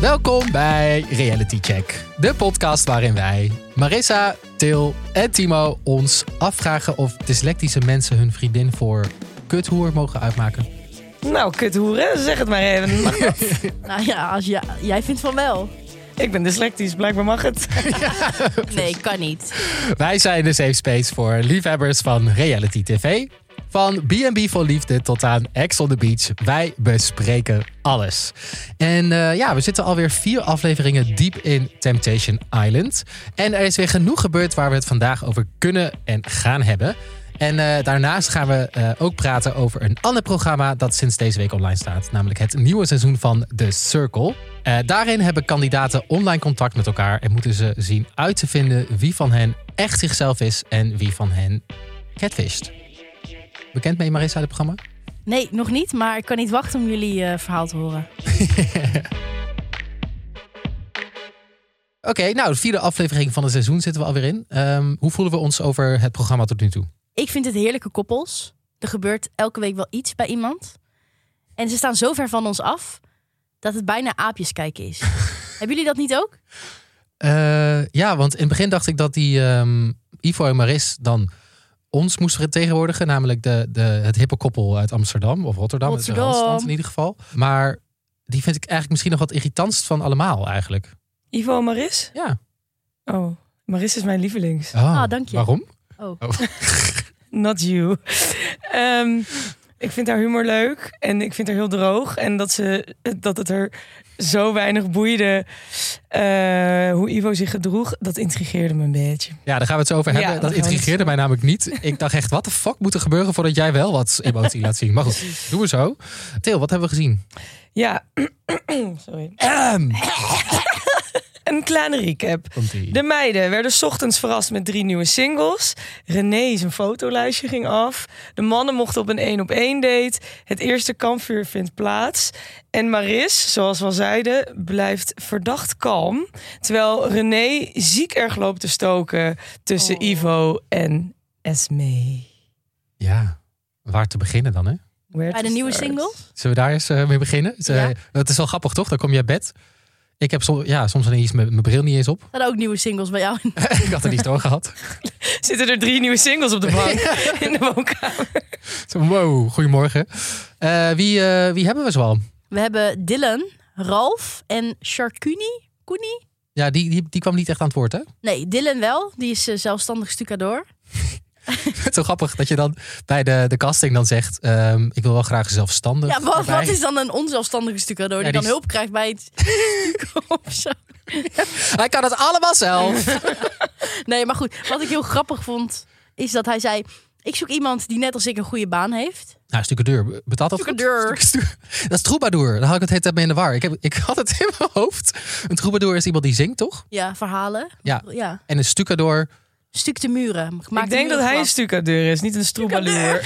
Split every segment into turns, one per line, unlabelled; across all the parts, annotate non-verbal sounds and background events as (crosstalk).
Welkom bij Reality Check, de podcast waarin wij, Marissa, Til en Timo, ons afvragen of dyslectische mensen hun vriendin voor kuthoer mogen uitmaken.
Nou, kuthoeren, zeg het maar even. Mag dat?
Nou ja, als ja, jij vindt van wel.
ik ben dyslectisch, blijkbaar mag het.
Nee, kan niet.
Wij zijn de safe space voor liefhebbers van reality TV. Van B&B voor Liefde tot aan Ex on the Beach. Wij bespreken alles. En eh, ja, we zitten alweer vier afleveringen diep in Temptation Island. En er is weer genoeg gebeurd waar we het vandaag over kunnen en gaan hebben. En eh, daarnaast gaan we eh, ook praten over een ander programma dat sinds deze week online staat. Namelijk het nieuwe seizoen van The Circle. Eh, daarin hebben kandidaten online contact met elkaar en moeten ze zien uit te vinden wie van hen echt zichzelf is en wie van hen catfisht. Bekend mee Marissa, het programma?
Nee, nog niet, maar ik kan niet wachten om jullie eh, verhaal te horen.
Oké, nou, de vierde aflevering van het seizoen zitten we alweer in. Ehm, hoe voelen we ons over het programma tot nu toe?
Ik vind het heerlijke koppels. Er gebeurt elke week wel iets bij iemand. En ze staan zo ver van ons af dat het bijna aapjes kijken is. Hebben jullie dat niet ook?
Eh, ja, want in het begin dacht ik dat die ehm, Ivo en Maris dan ons moesten vertegenwoordigen. Namelijk de, de, het hippe koppel uit Amsterdam of Rotterdam. het is een
Rotterdam.
Randstad in ieder geval. Maar die vind ik eigenlijk misschien nog wat irritantst van allemaal eigenlijk.
Ivo en Maris?
Ja.
Oh, Maris is mijn lievelings.
Ah, dank je.
Waarom?
Oh.
Not you. Ehm, ik vind haar humor leuk en ik vind haar heel droog. En dat, ze, dat het er zo weinig boeide eh, hoe Ivo zich gedroeg, dat intrigeerde me een beetje.
Ja, daar gaan we het zo over hebben.
Ja, daar
dat
gaan we het
intrigeerde
zo-
mij namelijk niet. Ik dacht echt, wat de fuck moet er gebeuren voordat jij wel wat emotie laat zien? Maar goed, doen we zo. Til, wat hebben we gezien?
Ja, (clears throat) sorry.
Ehm,
Een kleine recap.
Komt-ie.
De meiden werden 's ochtends verrast met drie nieuwe singles. René zijn fotolijstje ging af. De mannen mochten op een één op één date. Het eerste kampvuur vindt plaats. En Maris, zoals we al zeiden, blijft verdacht kalm. Terwijl René ziek erg loopt te stoken tussen
Oh.
Ivo en Esme.
Ja, waar te beginnen dan, hè?
Where
Bij
to
de nieuwe
start?
single?
Zullen we daar eens eh, mee beginnen? Het, eh,
Ja.
dat is wel grappig, toch? Dan kom je uit bed. Ik heb soms, ja, soms ineens mijn mijn bril niet eens op. (laughs)
Er hadden ook nieuwe singles bij jou.
ik had er niet door gehad.
Zitten er drie nieuwe singles op de
(laughs)
bank in de woonkamer?
Zo, Wow, goedemorgen. Eh, wie, eh, wie hebben we zoal?
We hebben Dylan, Ralf en Sharkuni. Kuni?
Ja, die, die, die kwam niet echt aan het woord, hè? (laughs)
Nee, Dylan wel. Die is eh, zelfstandig stucadoor.
Zo grappig dat je dan bij de, de casting dan zegt... ehm, ik wil wel graag zelfstandig
Ja, wat,
erbij.
wat is dan een onzelfstandige stucadoor
Ja, die
die, dan
is-
hulp krijgt bij het stukken of zo?
Hij kan het allemaal
(laughs)
zelf.
Nee, maar goed. Wat ik heel grappig vond, is dat hij zei... Ik zoek iemand die net als ik een goede baan heeft.
nou, stucadour. Betaalt dat goed?
Stucadour.
Stucadour. Dat is troubadour. Daar had ik het hele tijd mee in de war. Ik, heb, ik had het (laughs) in mijn hoofd. Een troubadour is iemand die zingt, toch?
Ja, verhalen.
Ja.
ja.
En een stucadoor...
Stuk de muren. Maak
Ik
de
denk dat
muren
hij een
glad.
stucadeur is, niet een stroebaluur.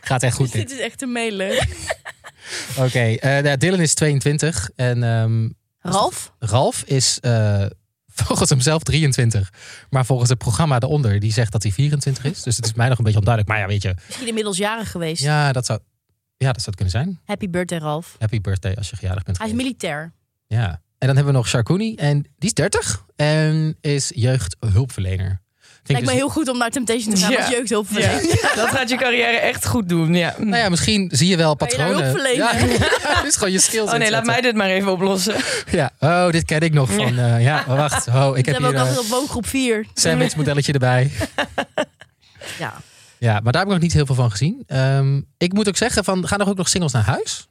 Gaat echt goed dit.
(laughs) Dit is echt een mailer.
Oké, eh, nou, Dylan is 22 en ehm,
Ralf?
Ralf is eh, (laughs) volgens hemzelf 23. Maar volgens het programma daaronder, die zegt dat hij 24 is. Dus het is mij nog een beetje onduidelijk. Maar ja, weet je,
Misschien inmiddels jarig geweest.
ja, dat zou, ja, dat zou het kunnen zijn.
Happy birthday, Ralf.
Happy birthday als je verjaardag bent.
Hij is
geweest.
militair.
ja. En dan hebben we nog Sharkuni en die is 30 en is jeugdhulpverlener. Vind ik
Lijkt
dus-
me heel goed om naar Temptation te gaan
Ja.
als jeugdhulpverlener.
Ja,
(laughs)
dat gaat je carrière echt goed doen. Ja.
nou ja, misschien zie je wel
Kan Oh, je daar
patronen.
hulp verlenen?
Ja, (laughs) dus gewoon je skills.
Oh nee, laat
inzetten.
mij dit maar even oplossen.
Ja, oh, dit ken ik nog van. eh, ja, wacht. Oh, ik
Dat
heb
hebben
hier
we ook
een
altijd op woongroep 4.
sandwich modelletje erbij.
Ja.
(laughs) Ja, maar daar heb ik nog niet heel veel van gezien. Ehm, ik moet ook zeggen, van, gaan er ook nog singles naar huis?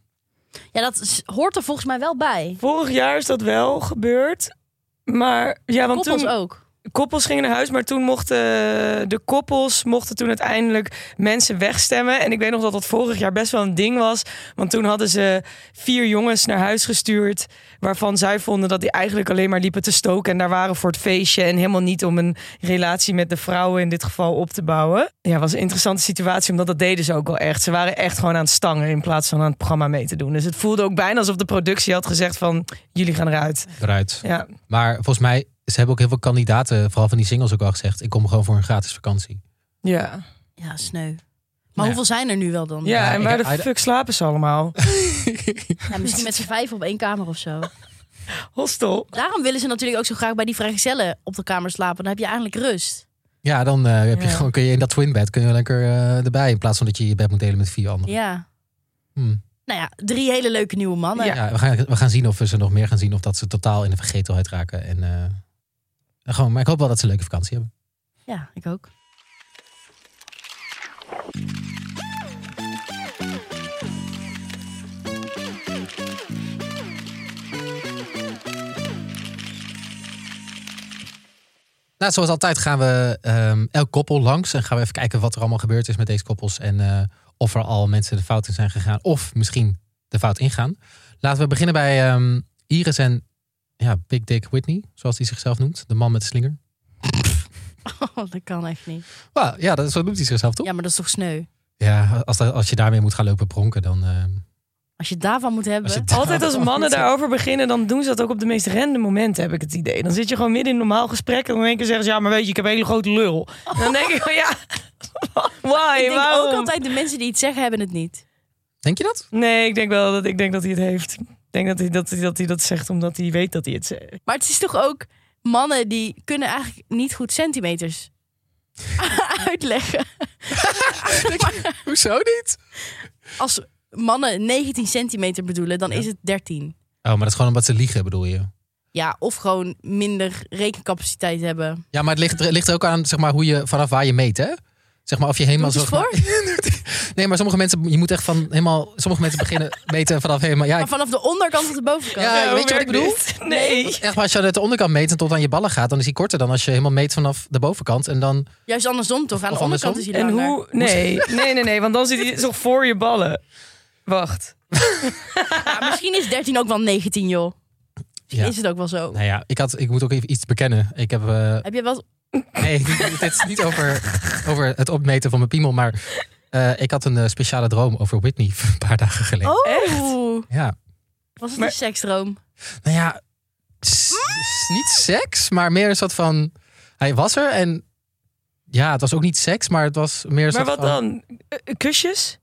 ja, dat is- hoort er volgens mij wel bij.
Vorig jaar is dat wel gebeurd. Maar ja, want
Koppels
toen
ook.
koppels gingen naar huis, maar toen mochten eh, de koppels mochten toen uiteindelijk mensen wegstemmen. En ik weet nog dat dat vorig jaar best wel een ding was, want toen hadden ze vier jongens naar huis gestuurd, waarvan zij vonden dat die eigenlijk alleen maar liepen te stoken en daar waren voor het feestje en helemaal niet om een relatie met de vrouwen in dit geval op te bouwen. Ja, was een interessante situatie, omdat dat deden ze ook wel echt. Ze waren echt gewoon aan het stangen in plaats van aan het programma mee te doen. Dus het voelde ook bijna alsof de productie had gezegd van jullie gaan eruit.
Eruit.
Ja.
Maar volgens mij, ze hebben ook heel veel kandidaten, vooral van die singles ook al gezegd. Ik kom gewoon voor een gratis vakantie.
Ja.
Ja, sneu. Maar
Ja.
hoeveel zijn er nu wel dan?
Ja,
Ja,
en
ik-
waar de
I-
fuck slapen ze allemaal?
Ja, misschien met z'n vijf op één kamer of zo.
Hostel.
Daarom willen ze natuurlijk ook zo graag bij die vrijgezellen op de kamer slapen. Dan heb je eigenlijk rust.
Ja, dan eh, heb je
Ja.
gewoon, kun je in dat twinbed kun je lekker eh, erbij. In plaats van dat je je bed moet delen met vier anderen.
Ja.
Hmm.
Nou ja, drie hele leuke nieuwe mannen.
Ja.
Ja, we, gaan, we gaan zien of we ze nog meer gaan zien. Of dat ze totaal in de vergetelheid raken. En, eh, gewoon, maar ik hoop wel dat ze een leuke vakantie hebben.
Ja, ik ook. (laughs)
Nou, zoals altijd gaan we ehm, elk koppel langs. En gaan we even kijken wat er allemaal gebeurd is met deze koppels. En eh, of er al mensen de fout in zijn gegaan. Of misschien de fout ingaan. Laten we beginnen bij ehm, Iris en ja, Big Dick Whitney. Zoals hij zichzelf noemt. De man met de slinger.
Oh, dat kan echt niet.
Wel, ja, dat, zo noemt hij zichzelf toch?
Ja, maar dat is toch sneu?
Ja, als, dat- als je daarmee moet gaan lopen pronken, dan... ehm,
Als je daarvan moet hebben.
als je daar-
Altijd als mannen daarover beginnen, dan doen ze dat ook op de meest rende momenten, heb ik het idee. Dan zit je gewoon midden in een normaal gesprek en dan in één keer zeggen ze, ja, maar weet je, ik heb een hele grote lul. En dan denk ik van, ja, why,
Ik denk
waarom?
ook altijd de mensen die iets zeggen hebben het niet.
Denk je dat?
Nee, ik denk wel dat, ik denk dat hij het heeft. Ik denk dat hij dat, hij- dat, hij dat zegt omdat hij weet dat hij het zegt.
Maar het is toch ook mannen die kunnen eigenlijk niet goed centimeters (laughs) uitleggen.
Hoezo niet?
Als mannen 19 centimeter bedoelen, dan
Ja.
is het 13.
Oh, maar dat is gewoon omdat ze liegen, bedoel je?
Ja, of gewoon minder rekencapaciteit hebben.
Ja, maar het ligt, er- ligt er ook aan zeg maar, hoe je, vanaf waar je meet, hè? Zeg maar of je helemaal...
Doe het
zeg maar- nee, maar sommige mensen, je moet echt van helemaal... Sommige mensen
(laughs)
beginnen meten vanaf helemaal... Ja,
Maar
ik-
vanaf de onderkant tot de bovenkant.
Ja,
hoe
weet je wat ik
werkt
bedoel?
dit? (laughs) Nee.
echt, maar als je uit de onderkant meet en tot aan je ballen gaat... dan is die korter dan als je helemaal meet vanaf de bovenkant. En dan...
Juist andersom toch? Aan
Of
de onderkant
andersom.
is hij
En
langer.
hoe? Nee, nee, nee, nee, want dan zit hij toch voor je ballen. Wacht.
Ja, misschien is 13 ook wel 19, joh. Misschien
Ja.
is het ook wel zo.
Nou ja, ik, had, ik moet ook even iets bekennen. Ik heb... eh,
Heb je wel...
nee, dit dit is niet over, over het opmeten van mijn piemel, maar... eh, ik had een eh, speciale droom over Whitney (laughs) een paar dagen geleden.
Oh,
Ja,
was het
Maar-
een seksdroom?
Nou ja, s- s- niet seks, maar meer een soort van. Hij was er en. Ja, het was ook niet seks, maar het was meer. een
Maar
soort
wat
van-
dan? Eh, eh, Kusjes?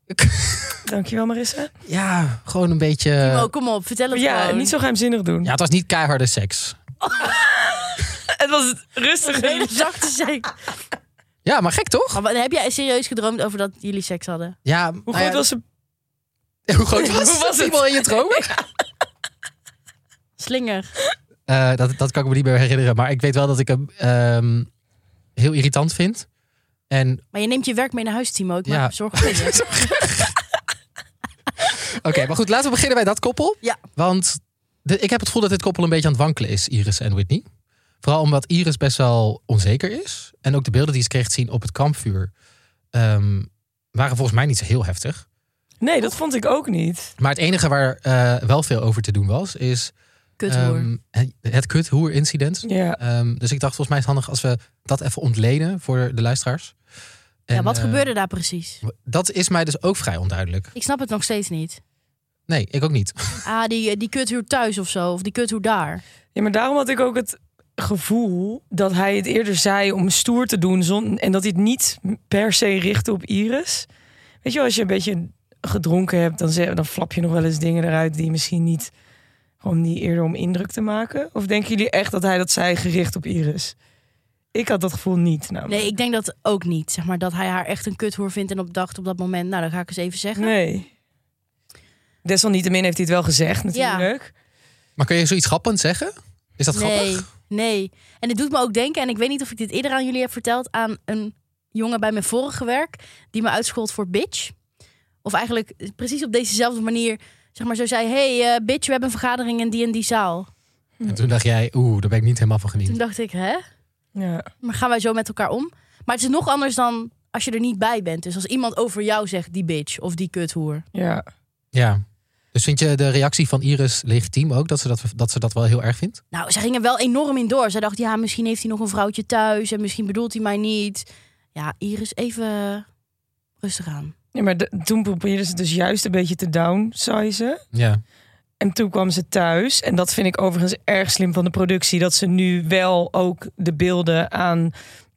Dankjewel Marissa.
Ja, gewoon een beetje.
oh, kom op, vertel het
Ja,
gewoon.
niet zo geheimzinnig doen.
Ja, het was niet keiharde seks.
(laughs) Het was rustig.
Een (laughs) hele zachte seks.
Ja, maar gek toch?
Maar wat- heb jij serieus gedroomd over dat jullie seks hadden?
Ja,
Hoe
nou ja,
groot was ze?
(laughs) hoe groot was,
Hoe was
het? Iemand in je dromen?
Slinger.
Eh, dat, dat kan ik me niet meer herinneren, maar ik weet wel dat ik hem ehm, heel irritant vind. En
(laughs) Maar je neemt je werk mee naar huis, Timo. Ik
Ja.
maak me zorgen voor je.
(laughs) Oké, maar goed, laten we beginnen bij dat koppel.
Ja.
Want de- ik heb het gevoel dat dit koppel een beetje aan het wankelen is, Iris en Whitney. Vooral omdat Iris best wel onzeker is. En ook de beelden die ze kreeg te zien op het kampvuur ehm, waren volgens mij niet zo heel heftig.
Nee, dat vond ik ook niet.
Maar het enige waar eh, wel veel over te doen was, is
Kuthoer.
ehm, het, het kuthoer-incident.
Ja.
Ehm, dus ik dacht, volgens mij is het handig als we dat even ontleden voor de luisteraars.
ja,
En,
wat
eh,
gebeurde daar precies?
Dat is mij dus ook vrij onduidelijk.
Ik snap het nog steeds niet.
Nee, ik ook niet. (laughs)
Ah, die, die kuthuur thuis of zo. Of die kuthuur daar.
ja, maar daarom had ik ook het gevoel dat hij het eerder zei om stoer te doen zon, en dat hij het niet per se richtte op Iris. Weet je, wel, als je een beetje gedronken hebt, dan, ze- dan flap je nog wel eens dingen eruit die misschien niet gewoon niet eerder om indruk te maken. Of denken jullie echt dat hij dat zei gericht op Iris? Ik had dat gevoel niet. Namelijk.
Nee, ik denk dat ook niet. Zeg maar dat hij haar echt een kuthoer vindt en op dacht op dat moment. Nou, dat ga ik eens even zeggen.
Nee. Desalniettemin heeft hij het wel gezegd natuurlijk.
Maar kun je zoiets grappends zeggen? Is dat
nee,
grappig?
nee. En het doet me ook denken, en ik weet niet of ik dit eerder aan jullie heb verteld, aan een jongen bij mijn vorige werk die me uitschold voor bitch. Of eigenlijk precies op dezezelfde manier, zeg maar zo zei, hey eh, bitch, we hebben een vergadering in die en die zaal.
En toen dacht jij, oeh, daar ben ik niet helemaal van
Toen
gediend.
dacht ik, hè?
Ja.
Maar gaan wij zo met elkaar om? Maar het is nog anders dan als je er niet bij bent. Dus als iemand over jou zegt, die bitch of die kuthoer.
ja.
Ja. Dus vind je de reactie van Iris legitiem ook? Dat ze dat, dat, ze dat wel heel erg vindt?
Nou, ze gingen wel enorm in door. Zij dacht, ja, misschien heeft hij nog een vrouwtje thuis en misschien bedoelt hij mij niet. Ja, Iris, even rustig aan.
Ja, maar de- toen probeerden ze dus juist een beetje te downsizen.
Ja.
En toen kwam ze thuis. En dat vind ik overigens erg slim van de productie. Dat ze nu wel ook de beelden aan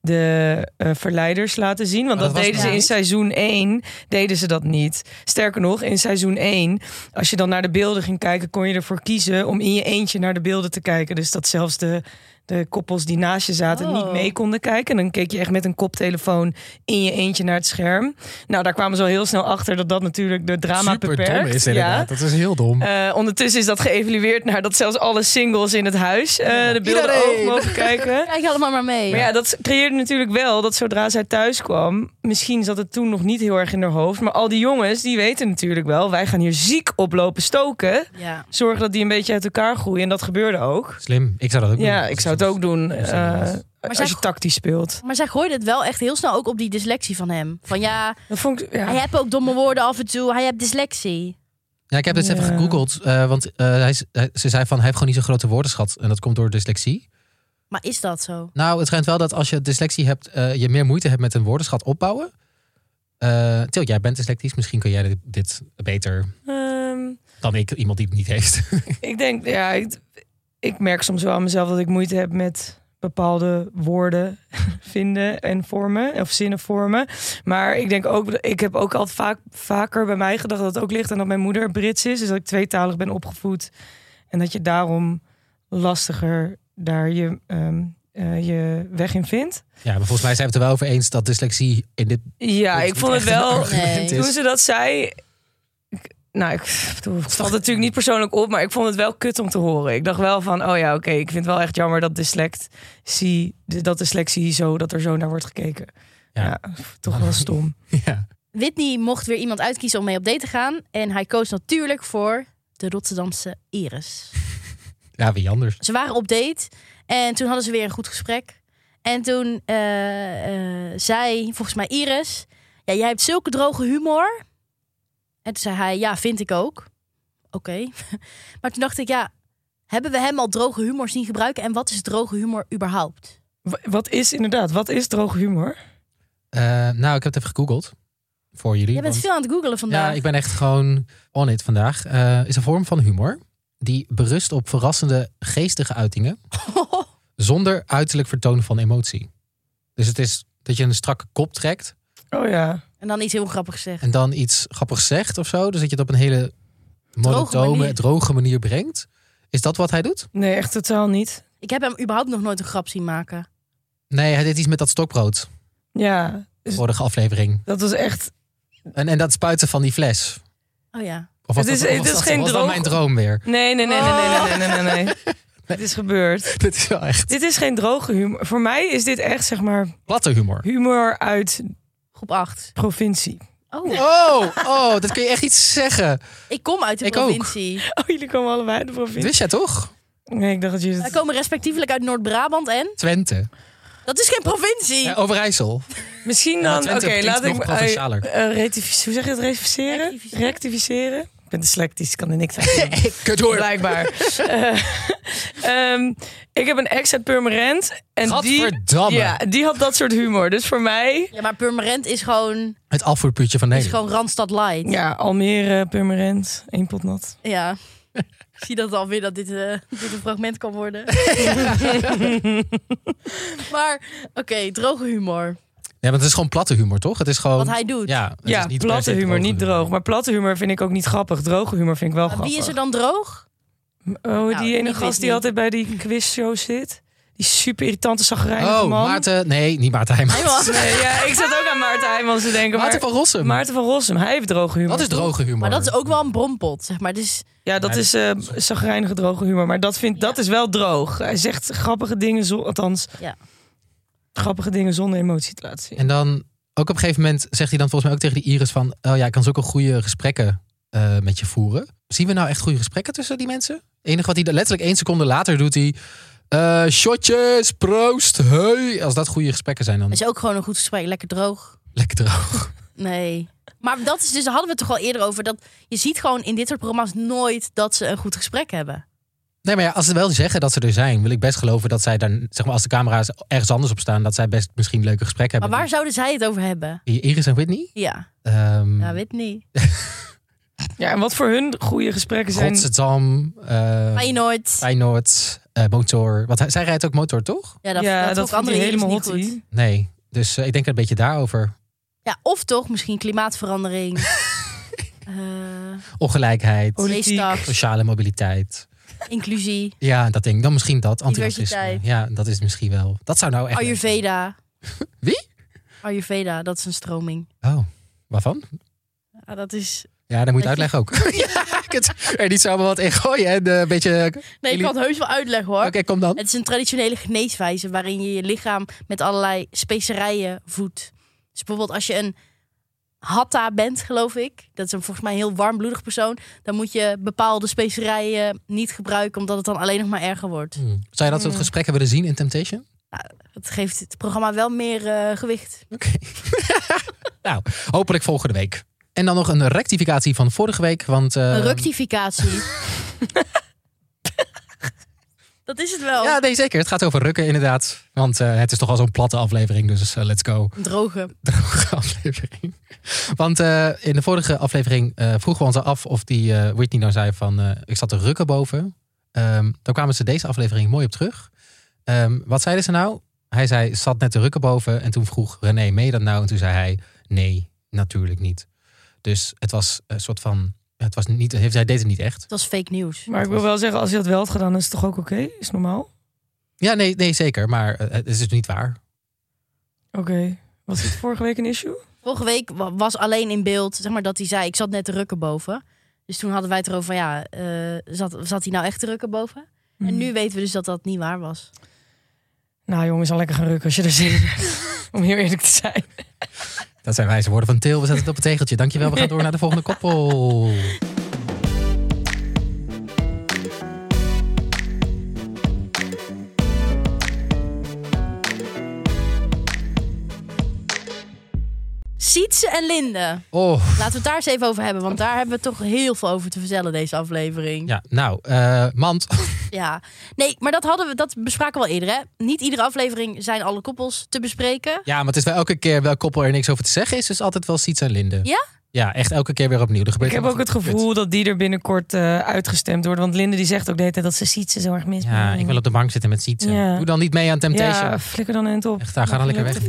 de eh, verleiders laten zien. Want
Oh, dat
dat,
was
deden
het
ze
niet.
in seizoen 1, deden ze dat niet. Sterker nog, in seizoen 1, als je dan naar de beelden ging kijken, kon je ervoor kiezen om in je eentje naar de beelden te kijken. Dus dat zelfs de, de koppels die naast je zaten
Oh.
niet mee konden kijken. En dan keek je echt met een koptelefoon in je eentje naar het scherm. Nou, daar kwamen ze al heel snel achter dat dat natuurlijk de drama
Super
beperkt.
dom is inderdaad. Dat is heel dom.
Eh, ondertussen is dat geëvalueerd naar dat zelfs alle singles in het huis eh, de beelden
Iedereen.
ook mogen (laughs) kijken.
Kijk allemaal maar mee.
Maar ja, dat creëerde natuurlijk wel dat zodra zij thuis kwam, misschien zat het toen nog niet heel erg in haar hoofd, maar al die jongens die weten natuurlijk wel, wij gaan hier ziek oplopen stoken.
Ja.
Zorgen dat die een beetje uit elkaar groeien en dat gebeurde ook.
Slim. Ik zou dat ook doen.
Ja, ik zou het ook doen
is
eh,
inderdaad.
als
zij
je
go-
tactisch speelt.
Maar zij gooide het wel echt heel snel ook op die dyslexie van hem. Van ja,
Dat vond ik,
hij
ja.
heeft ook domme woorden af en toe. Hij heeft dyslexie.
Ja, ik heb dit even
Ja.
gegoogeld. eh, want eh, hij, is- hij- ze zei van, hij heeft gewoon niet zo'n grote woordenschat. En dat komt door dyslexie.
Maar is dat zo?
Nou, het schijnt wel dat als je dyslexie hebt, eh, je meer moeite hebt met een woordenschat opbouwen. Eh Til, jij bent dyslectisch. Misschien kun jij dit, dit beter
Ehm,
dan ik, iemand die het niet heeft. (laughs)
Ik denk, ja, ik, ik merk soms wel aan mezelf dat ik moeite heb met bepaalde woorden (laughs) vinden en vormen of zinnen vormen. Maar ik denk ook, ik heb ook altijd vaak, vaker bij mij gedacht dat het ook ligt aan dat mijn moeder Brits is, dus dat ik tweetalig ben opgevoed en dat je daarom lastiger daar je, ehm, eh, je weg in vindt.
ja, maar volgens mij zijn we het er wel over eens dat dyslexie in dit...
Ja,
punt
ik
niet
vond het
echt een
wel.
argument
Nee.
is.
Toen ze dat zei. ik- nou, ik bedoel, het valt natuurlijk niet persoonlijk op, maar ik vond het wel kut om te horen. Ik dacht wel van, oh ja, oké, ik vind het wel echt jammer dat dyslexie, dat dyslexie zo, dat er zo naar wordt gekeken.
Ja.
Ja, toch wel stom.
(laughs) Ja.
Whitney mocht weer iemand uitkiezen om mee op date te gaan. En hij koos natuurlijk voor de Rotterdamse Iris.
ja, wie anders?
Ze waren op date en toen hadden ze weer een goed gesprek. En toen eh, eh, zei volgens mij Iris... Ja, jij hebt zulke droge humor. En toen zei hij, ja, vind ik ook. Oké. (laughs) maar toen dacht ik, ja... Hebben we hem al droge humor zien gebruiken? En wat is droge humor überhaupt?
Wa- Wat is inderdaad, wat is droog humor?
Eh, nou, ik heb het even gegoogeld voor jullie.
Jij bent
want-
veel aan het googelen vandaag.
Ja, ik ben echt gewoon on it vandaag. Eh, is een vorm van humor die berust op verrassende geestige uitingen zonder uiterlijk vertoon van emotie. Dus het is dat je een strakke kop trekt
Oh ja.
(laughs) en dan iets heel grappigs zeggen.
en dan iets grappigs zegt of zo. Dus dat je het op een hele monotone,
manier.
droge manier brengt. Is dat wat hij doet?
Nee, echt totaal niet.
Ik heb hem überhaupt nog nooit een grap zien maken.
Nee, hij deed iets met dat stokbrood.
Ja, dus
Vorige aflevering.
dat was echt.
En, en dat spuiten van die fles.
Oh ja.
Of was
Het is-
dat, of
het
was
is
dat-
geen
was dat
droog-
mijn droom weer?
Nee, nee, nee, nee, nee, nee, nee, nee, nee. nee. Dit is gebeurd.
(laughs) Dit is wel echt
Dit is geen droge humor. Voor mij is dit echt, zeg maar,
platte (laughs) humor.
humor uit
Groep 8.
provincie.
Oh,
Oh, oh, dat kun je echt iets zeggen.
ik kom uit de
Ik ook. (laughs)
provincie.
Oh, jullie komen allebei uit de
Dat
provincie.
wist jij toch?
Nee, ik dacht dat jullie
Wij
het...
komen respectievelijk uit Noord-Brabant en...
Twente.
Dat is geen provincie!
Eh, Overijssel.
Misschien
Ja,
dan...
Twente
Nou, Oké,
klinkt
laat ik...
nog
eh,
provincialer.
eh, rectific- hoe zeg je dat? Rectificeren?
Rectificeren.
Rectificeren? Ik ben dyslectisch, (laughs) ik kan er
(laughs)
niks aan doen.
Kut hoor.
Blijkbaar. (laughs) Eh, ehm, ik heb een ex uit Purmerend. En die,
Gadverdamme.
ja, die had dat soort humor. Dus voor mij...
Ja, maar Purmerend is gewoon,
Het afvoerputje van
is
Nederland.
gewoon Randstad Light.
Ja, Almere, Purmerend, één pot nat.
Ja. (laughs) ik zie dat alweer dat dit, eh, dit een fragment kan worden. maar, oké, droge humor.
Ja, want het is gewoon platte humor, toch? Het is gewoon...
Wat hij doet.
Ja, het
Ja,
is niet per se
platte humor,
droge
niet droog. Maar platte humor vind ik ook niet grappig. Droge humor vind ik wel
Maar
grappig.
wie is er dan droog?
Oh,
ik
die ene
weet
gast die
niet.
altijd bij die quizshow zit. Die super irritante zagrijnige
Oh,
man.
Maarten... Nee, niet Maarten Heijmans.
Hij was-
Nee, ja, ik zat ook aan Maarten Heijmans te denken.
Maarten
Maarten,
van Rossum.
van... Maarten van Rossum, hij heeft droge humor.
Dat is droge humor.
Maar dat is ook wel een bronpot, zeg maar. Dus
Ja, dat is eh zagrijnige droge humor. Maar dat, vindt, dat is wel droog. Hij zegt grappige dingen, zon, althans...
Ja.
Grappige dingen zonder emotie te laten zien.
En dan ook op een gegeven moment zegt hij dan volgens mij ook tegen die Iris van... Oh ja, ik kan zulke goede gesprekken eh, met je voeren. Zien we nou echt goede gesprekken tussen die mensen? Het enige wat hij letterlijk één seconde later doet hij... eh, shotjes, proost, hey. Als dat goede gesprekken zijn, dan
is ook gewoon een goed gesprek. Lekker droog.
lekker droog.
Nee. Maar dat is dus, daar hadden we het toch al eerder over. Dat je ziet gewoon in dit soort programma's nooit dat ze een goed gesprek hebben.
Nee, maar ja, als ze wel zeggen dat ze er zijn... wil ik best geloven dat zij dan... zeg maar als de camera's ergens anders op staan... dat zij best misschien leuke gesprekken
Maar
hebben.
waar zouden zij het over hebben?
Iris en Whitney?
Ja,
Ehm
ja weet niet.
Ja, en wat voor hun goede gesprekken zijn...
Rotterdam, eh,
Maar je nooit.
Feyenoord, eh, motor. Want hij- zij rijdt ook motor, toch?
Ja, dat,
ja, dat,
dat, ook
vond
andere
hij
helemaal
helemaal
niet goed.
hottie.
Nee. Dus eh, ik denk een beetje daarover.
Ja, of toch misschien
(laughs)
klimaatverandering. Eh,
Ongelijkheid,
Politiek.
leestaks,
sociale mobiliteit.
inclusie,
Ja, dat denk ik. Dan misschien dat. Antiracisme.
Diversiteit. Oh,
Ja, dat is misschien wel. Dat zou nou echt.
Ayurveda.
Wie?
Ayurveda, dat is een stroming.
Oh, waarvan?
Ah, dat is...
Ja, dan moet je
Dat je-
uitleggen
(laughs)
ook. ja, ik het er niet zomaar wat in gooien. En eh, een beetje. Oké,
Nee, ik
Jullie-
kan het heus wel uitleggen hoor.
kom dan.
Het is een traditionele geneeswijze waarin je je lichaam met allerlei specerijen voedt. Dus bijvoorbeeld als je een hatta bent, geloof ik. Dat is een volgens mij een heel warmbloedig persoon. Dan moet je bepaalde specerijen niet gebruiken, omdat het dan alleen nog maar erger wordt.
Hmm. Zou je dat soort
Hmm.
gesprekken willen zien in Temptation?
Dat geeft het programma wel meer eh, gewicht.
Oké. (laughs) nou, hopelijk volgende week. En dan nog een rectificatie van vorige week. Want, eh,
Een rectificatie. (laughs) dat is het wel.
Ja, nee, zeker. Het gaat over rukken, inderdaad. Want eh, het is toch al zo'n platte aflevering. Dus eh, let's go.
Een droge.
Droge (laughs) aflevering. Want eh, in de vorige aflevering eh, vroegen we ons af of die eh, Whitney nou zei van... eh, ik zat te rukken boven. Ehm, daar kwamen ze deze aflevering mooi op terug. Ehm, wat zeiden ze nou? Hij zei, zat net te rukken boven. En toen vroeg René, mee dat nou? En toen zei hij, nee, natuurlijk niet. Dus het was een soort van... Het was niet, heeft- hij deed het niet echt.
Het was fake nieuws.
Maar ik wil wel zeggen, als je dat wel had gedaan, is het toch ook oké? Is normaal?
Ja, nee, nee zeker. Maar eh, het is dus niet waar.
Oké. Was dit vorige week een issue?
Vorige week wa- was alleen in beeld zeg maar, dat hij zei: Ik zat net te rukken boven. Dus toen hadden wij het erover van ja, eh, zat, zat hij nou echt te rukken boven? En nu weten we dus dat dat niet waar was.
Nou jongens, al lekker gaan rukken als je er zin in hebt. (laughs) Om heel eerlijk te zijn.
Dat zijn wijze woorden van Til. We zetten het op het tegeltje. Dankjewel. We gaan door naar de volgende koppel.
Sietse en Linde.
Oh.
Laten we het daar eens even over hebben, want daar hebben we toch heel veel over te vertellen deze aflevering.
Ja, nou, eh, Mand.
Ja. Nee, maar dat, hadden we, dat bespraken we al eerder. Hè? Niet iedere aflevering zijn alle koppels te bespreken.
Ja, maar het is wel elke keer welk koppel er niks over te zeggen is. Dus altijd wel Siets en Linde.
Ja?
Ja, echt elke keer weer opnieuw. Er gebeurt
Ik heb ook
helemaal
het
geen
gevoel dat die er binnenkort eh, uitgestemd wordt. Want Linde die zegt ook de hele tijd dat ze ziet ze zo erg mis.
kut. Ja, ik wil op de bank zitten met Sietse.
Ja.
Doe dan niet mee aan Temptation.
Ja, flikker dan end op.
Echt, daar, ga dan lekker weg.
TV.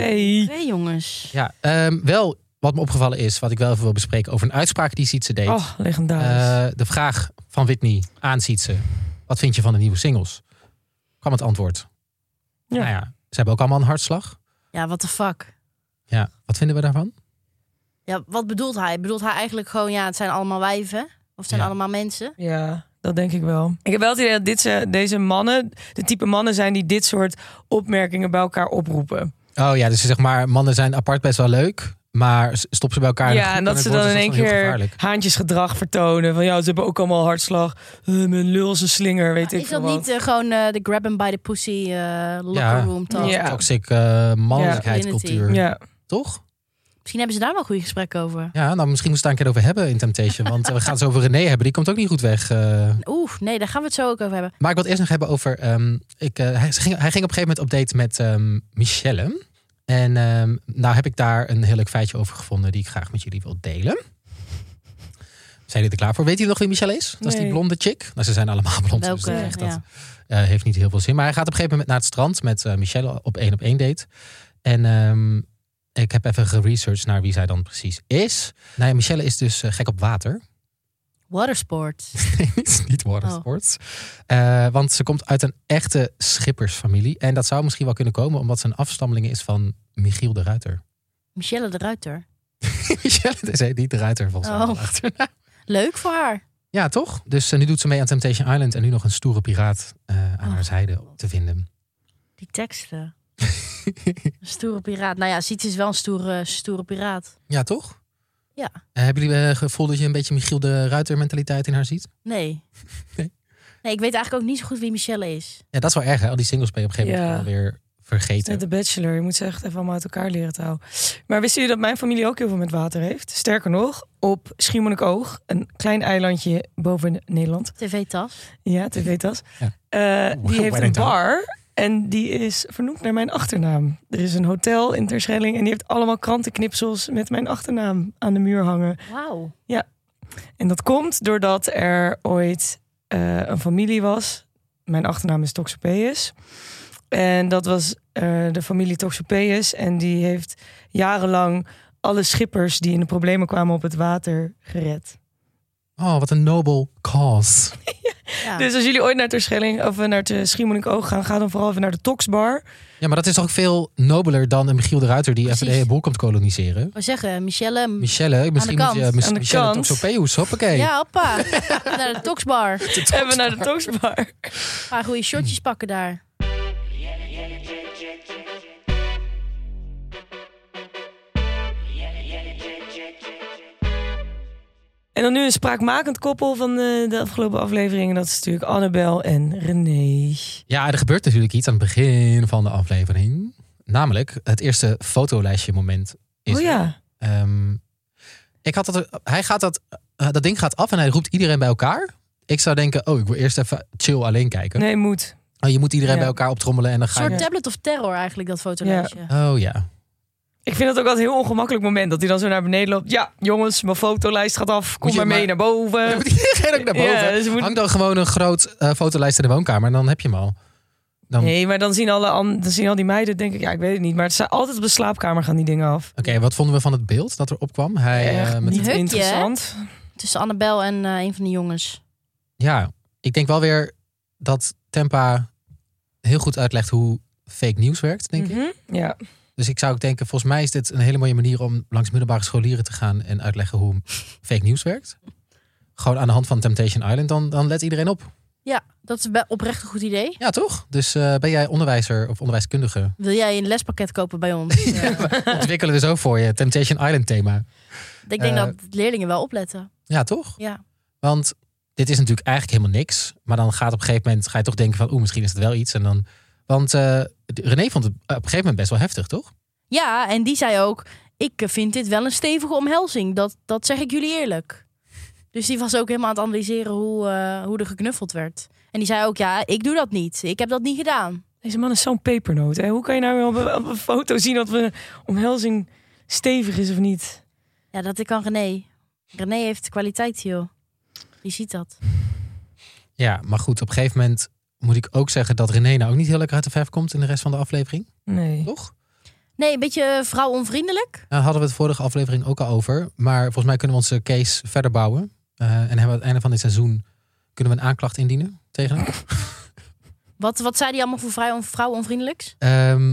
Twee jongens.
Ja, ehm, wel wat me opgevallen is, wat ik wel even wil bespreken over een uitspraak die Sietse deed.
Oh, legendarisch.
Eh, de vraag van Whitney aan Sietse. Wat vind je van de nieuwe singles? Kwam het antwoord.
Ja.
Nou ja, ze hebben ook allemaal een hartslag.
Ja, what the fuck.
Ja, wat vinden we daarvan?
Ja, wat bedoelt hij? Bedoelt hij eigenlijk gewoon, ja, het zijn allemaal wijven? Of het zijn
Ja.
allemaal mensen?
Ja, dat denk ik wel. Ik heb wel het idee dat dit, ze- deze mannen, de type mannen zijn die dit soort opmerkingen bij elkaar oproepen.
Oh ja, dus zeg maar, mannen zijn apart best wel leuk. Maar s- stop ze bij elkaar. in een
Ja,
groep
en dat ze
wordt
dan in
het
één
wel heel
keer
gevaarlijk.
haantjesgedrag vertonen. Van ja, ze hebben ook allemaal hartslag. Eh, mijn lul is een slinger, weet ik
Is dat
veel wat.
niet eh, gewoon eh, de grab 'em by the pussy eh, locker room talk?
Ja.
Toxic eh mannelijkheidscultuur.
Ja,
Toch?
Misschien hebben ze daar wel goede gesprekken over.
Ja, nou misschien moest we het daar een keer over hebben in Temptation. Want eh, we gaan het zo over René hebben. Die komt ook niet goed weg. eh.
Oeh, nee, daar gaan we het zo ook over hebben.
Maar ik wil het eerst nog hebben over... ehm, ik, eh, hij, ze ging, hij ging op een gegeven moment op date met ehm, Michelle. En ehm, nou heb ik daar een heel leuk feitje over gevonden... die ik graag met jullie wil delen. Zijn jullie er klaar voor? Weet jullie nog wie Michelle is? Dat is die
Nee.
blonde chick. Nou, ze zijn allemaal blond. dus
Welke,
dat is echt dat
ja.
eh, heeft niet heel veel zin. Maar hij gaat op een gegeven moment naar het strand met eh, Michelle op één op één date. En ehm, ik heb even geresearched naar wie zij dan precies is. Nou ja, Michelle is dus eh, gek op water. (laughs)
Watersport. (laughs)
Nee, het is niet watersports.
Oh.
Eh, want ze komt uit een echte schippersfamilie. En dat zou misschien wel kunnen komen omdat ze een afstammeling is van Michiel de Ruiter. (laughs)
Michelle de Ruiter.
Michelle is hij, niet de Ruiter volgens mij.
Oh.
wel achternaam.
Leuk voor haar.
Ja, toch? Dus eh, nu doet ze mee aan Temptation Island en nu nog een stoere piraat eh, aan
Oh.
haar zijde te vinden.
Die
(laughs)
teksten. Een stoere piraat. Nou ja, Siet is wel een stoere, stoere piraat.
Ja, toch?
Ja.
Eh, hebben jullie eh, het gevoel dat je een beetje Michiel de Ruiter mentaliteit in haar ziet?
Nee.
(laughs) Nee.
Nee, ik weet eigenlijk ook niet zo goed wie Michelle is.
Ja, dat is wel erg hè? Al die singles ben je op een gegeven moment
Ja.
alweer
het is net
vergeten.
de bachelor. Je moet ze echt even allemaal uit elkaar leren te houden. Maar wisten jullie dat mijn familie ook heel veel met water heeft? Sterker nog, op Schiermonnikoog, een klein eilandje boven Nederland.
TV-tas.
Ja, tv-tas.
Ja.
Eh,
Wow,
die heeft een
wedding town.
bar en die is vernoemd naar mijn achternaam. Er is een hotel in Terschelling en die heeft allemaal krantenknipsels met mijn achternaam aan de muur hangen.
Wauw.
En dat komt doordat er ooit eh, een familie was mijn achternaam is Toxopeus. En dat was eh, de familie Toxopeus. En die heeft jarenlang alle schippers die in de problemen kwamen op het water gered.
Oh, wat een nobel cause.
Ja.
Dus als jullie ooit naar Terschelling of naar de Schiermonnikoog gaan, ga dan vooral even naar de Toxbar.
Ja, maar dat is toch ook veel nobeler dan een Michiel de Ruiter die even de
Precies.
hele boel komt koloniseren.
Wat zeggen, Michelle?
Michelle, misschien moet
kant.
je eh, mis-
Aan de
Michelle
kant.
Toxopeus, hoppakee.
Ja, hoppa. (laughs) Naar de Toxbar.
Even naar de Toxbar.
Een paar goede shotjes pakken daar.
En dan nu een spraakmakend koppel van eh, de, de afgelopen afleveringen. Dat is natuurlijk Annabel en René.
Ja, er gebeurt natuurlijk iets aan het begin van de aflevering. Namelijk het eerste fotolijstje moment. Is
oh
er.
ja.
Ehm, ik had dat, hij gaat dat, eh, dat ding gaat af en hij roept iedereen bij elkaar. Ik zou denken, oh, ik wil eerst even chill alleen kijken.
Nee, moet.
Oh, je moet iedereen
Ja.
bij elkaar optrommelen en dan
Een
ga je...
soort tablet of terror eigenlijk, dat fotolijstje.
Oh ja.
Eh, Ik vind dat ook altijd een heel ongemakkelijk moment. Dat hij dan zo naar beneden loopt. Ja, jongens, mijn fotolijst gaat af. Kom
je
maar mee
maar-
naar boven.
Dan moet iedereen ook naar boven.
Ja, ze moeten-
Hang dan gewoon een groot eh, fotolijst in de woonkamer en dan heb je hem al. Dan...
Nee, maar dan zien, alle, an- dan zien al die meiden, denk ik, ja, ik weet het niet. Maar het zijn altijd op de slaapkamer gaan die dingen af.
Oké, wat vonden we van het beeld dat er opkwam? Hij, eh,
Echt
met...
niet
Hutje, hè?
interessant.
Tussen Annabel en eh, een van de jongens.
Ja, ik denk wel weer dat Tempa heel goed uitlegt hoe fake nieuws werkt, denk ik.
Mhm, Ja.
Dus ik zou ook denken, volgens mij is dit een hele mooie manier om langs middelbare scholieren te gaan en uitleggen hoe fake nieuws werkt. Gewoon aan de hand van Temptation Island, dan, dan let iedereen op.
Ja, dat is wel oprecht een goed idee.
Ja, toch? Dus eh, ben jij onderwijzer of onderwijskundige?
(laughs) Wil jij een lespakket kopen bij
(laughs)
ons? Eh,
Ontwikkelen we zo voor je, Temptation Island thema.
ik denk
Eh.
dat leerlingen wel opletten.
Ja, toch?
Ja.
Want dit is natuurlijk eigenlijk helemaal niks. Maar dan gaat op een gegeven moment, ga je toch denken van, oeh, misschien is het wel iets. En dan, want eh, René vond het op een gegeven moment best wel heftig, toch?
ja, en die zei ook, ik eh, vind dit wel een stevige omhelzing. Dat, dat zeg ik jullie eerlijk. Dus die was ook helemaal aan het analyseren hoe, eh, hoe er geknuffeld werd. En die zei ook, ja, ik doe dat niet. Ik heb dat niet gedaan.
Deze man is zo'n pepernoot. Hè? Hoe kan je nou op een, op een foto zien dat we omhelzing stevig is of niet?
Ja, dat kan René. René heeft kwaliteit, joh. Je ziet dat.
Ja, maar goed, op een gegeven moment moet ik ook zeggen dat René nou ook niet heel lekker uit de verf komt in de rest van de aflevering,
Nee.
toch?
Nee, een beetje eh, vrouwonvriendelijk.
Daar hadden we het vorige aflevering ook al over. Maar volgens mij kunnen we onze case verder bouwen. Eh, en hebben we aan het einde van dit seizoen kunnen we een aanklacht indienen tegen hem.
Wat, wat zei die allemaal voor vrij- vrouwonvriendelijks?
Ehm,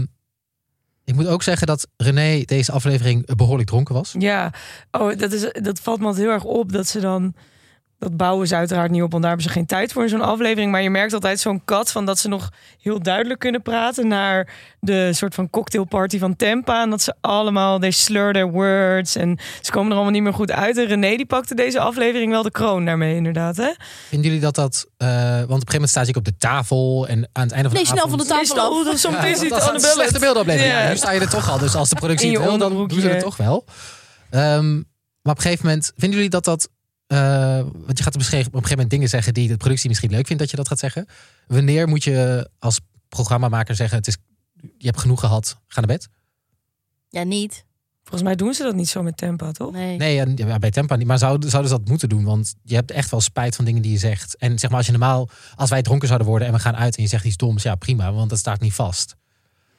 ik moet ook zeggen dat René deze aflevering behoorlijk dronken was.
Ja, oh, dat, is, dat valt me altijd heel erg op dat ze dan. Dat bouwen ze uiteraard niet op, want daar hebben ze geen tijd voor in zo'n aflevering. Maar je merkt altijd zo'n kat van dat ze nog heel duidelijk kunnen praten naar de soort van cocktailparty van Tempa. En dat ze allemaal, they slur their words en ze komen er allemaal niet meer goed uit. En René die pakte deze aflevering wel de kroon daarmee inderdaad. Hè?
Vinden jullie dat dat... eh, want op een gegeven moment staat ik op de tafel en aan het einde van
Nee,
de
snel van
avond...
de tafel af. (laughs)
dat soms
Ja,
is het
dat is een
Annabelle.
slechte beeldaflevering. Ja,
Ja.
nu sta je er toch al. Dus als de productie
In je
het wil, dan doen ze
onderbroekje.
het toch wel. Ehm, maar op een gegeven moment, vinden jullie dat dat... eh, want je gaat op een gegeven moment dingen zeggen die de productie misschien leuk vindt dat je dat gaat zeggen. Wanneer moet je als programmamaker zeggen, het is, je hebt genoeg gehad, ga naar bed?
Ja, niet.
Volgens mij doen ze dat niet zo met Tempa, toch?
Nee.
Nee, en- ja, bij Tempa niet. Maar zouden, zouden ze dat moeten doen? Want je hebt echt wel spijt van dingen die je zegt. En zeg maar, als je normaal, als wij dronken zouden worden en we gaan uit en je zegt iets doms, ja prima, want dat staat niet vast.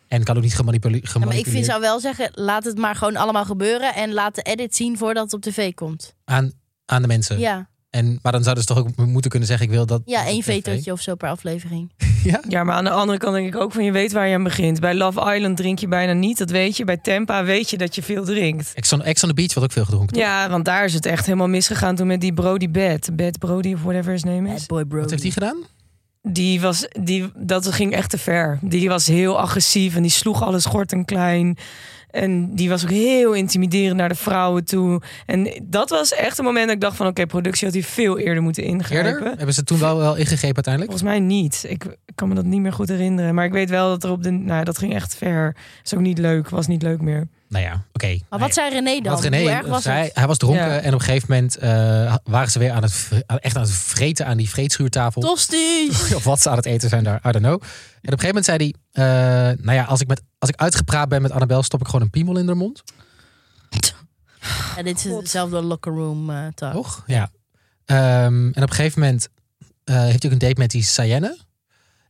En kan ook niet gemanipule- gemanipuleerd
Ja, maar ik vind, zou wel zeggen, laat het maar gewoon allemaal gebeuren. En laat de edit zien voordat het op tv komt.
aan, aan de mensen.
Ja,
En, maar dan zouden ze toch ook moeten kunnen zeggen: ik wil dat.
ja één
dat tv.
vetootje of zo per aflevering.
Ja.
Ja, maar aan de andere kant denk ik ook van je weet waar je aan begint. Bij Love Island drink je bijna niet, dat weet je. Bij Tempa weet je dat je veel drinkt.
Ex on, Ex on the Beach wordt ook veel gedronken.
Ja, want daar is het echt helemaal misgegaan toen met die Brody Bad. Bad Brody of whatever his name
Bad
is.
boy bro.
Wat heeft die gedaan?
Die was, die, dat ging echt te ver. Die was heel agressief en die sloeg alles kort en klein. En die was ook heel intimiderend naar de vrouwen toe. En dat was echt een moment dat ik dacht van... oké, productie had hier veel eerder moeten ingrijpen.
Eerder? Hebben ze toen wel, Oh. wel ingegrepen uiteindelijk?
Volgens mij niet. Ik, ik kan me dat niet meer goed herinneren. Maar ik weet wel dat er op de... Nou, dat ging echt ver. Is ook niet leuk. Was niet leuk meer. (laughs)
Nou ja, oké.
Maar
Nee.
wat zei René dan?
Wat René
Hoe erg was
zei,
het?
hij was dronken
Ja.
en op een gegeven moment eh, waren ze weer aan het, vre- aan- echt aan het vreten aan die vreedschuurtafel.
Tosti's!
(laughs) Of wat ze aan het eten zijn daar, I don't know. En op een gegeven moment zei hij, eh, nou ja, als ik, met, als ik uitgepraat ben met Annabel, stop ik gewoon een piemel in haar mond.
Ja, dit is
God.
hetzelfde locker room eh talk.
Oh, Toch? Ja. Ehm, en op een gegeven moment eh, heeft hij ook een date met die Sayenne.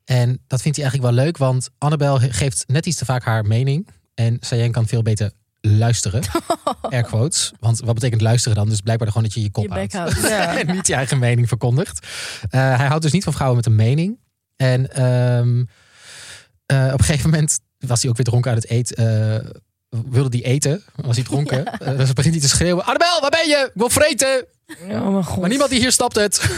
En dat vindt hij eigenlijk wel leuk, want Annabel geeft net iets te vaak haar mening. En Sayen kan veel beter
(laughs)
luisteren. Air quotes. Want wat betekent luisteren dan? Dus blijkbaar gewoon dat je je kop
Je bek
houdt.
houdt.
Ja.
(laughs) en niet je eigen mening verkondigt. Eh, hij houdt dus niet van vrouwen met een mening. En ehm, eh, op een gegeven moment was hij ook weer dronken uit het eten. wilde hij eten, was hij dronken.
(laughs)
Eh, dus begint hij te schreeuwen. Annabel, waar ben je? Ik wil vreten.
Oh mijn god.
Maar niemand die hier stapt het.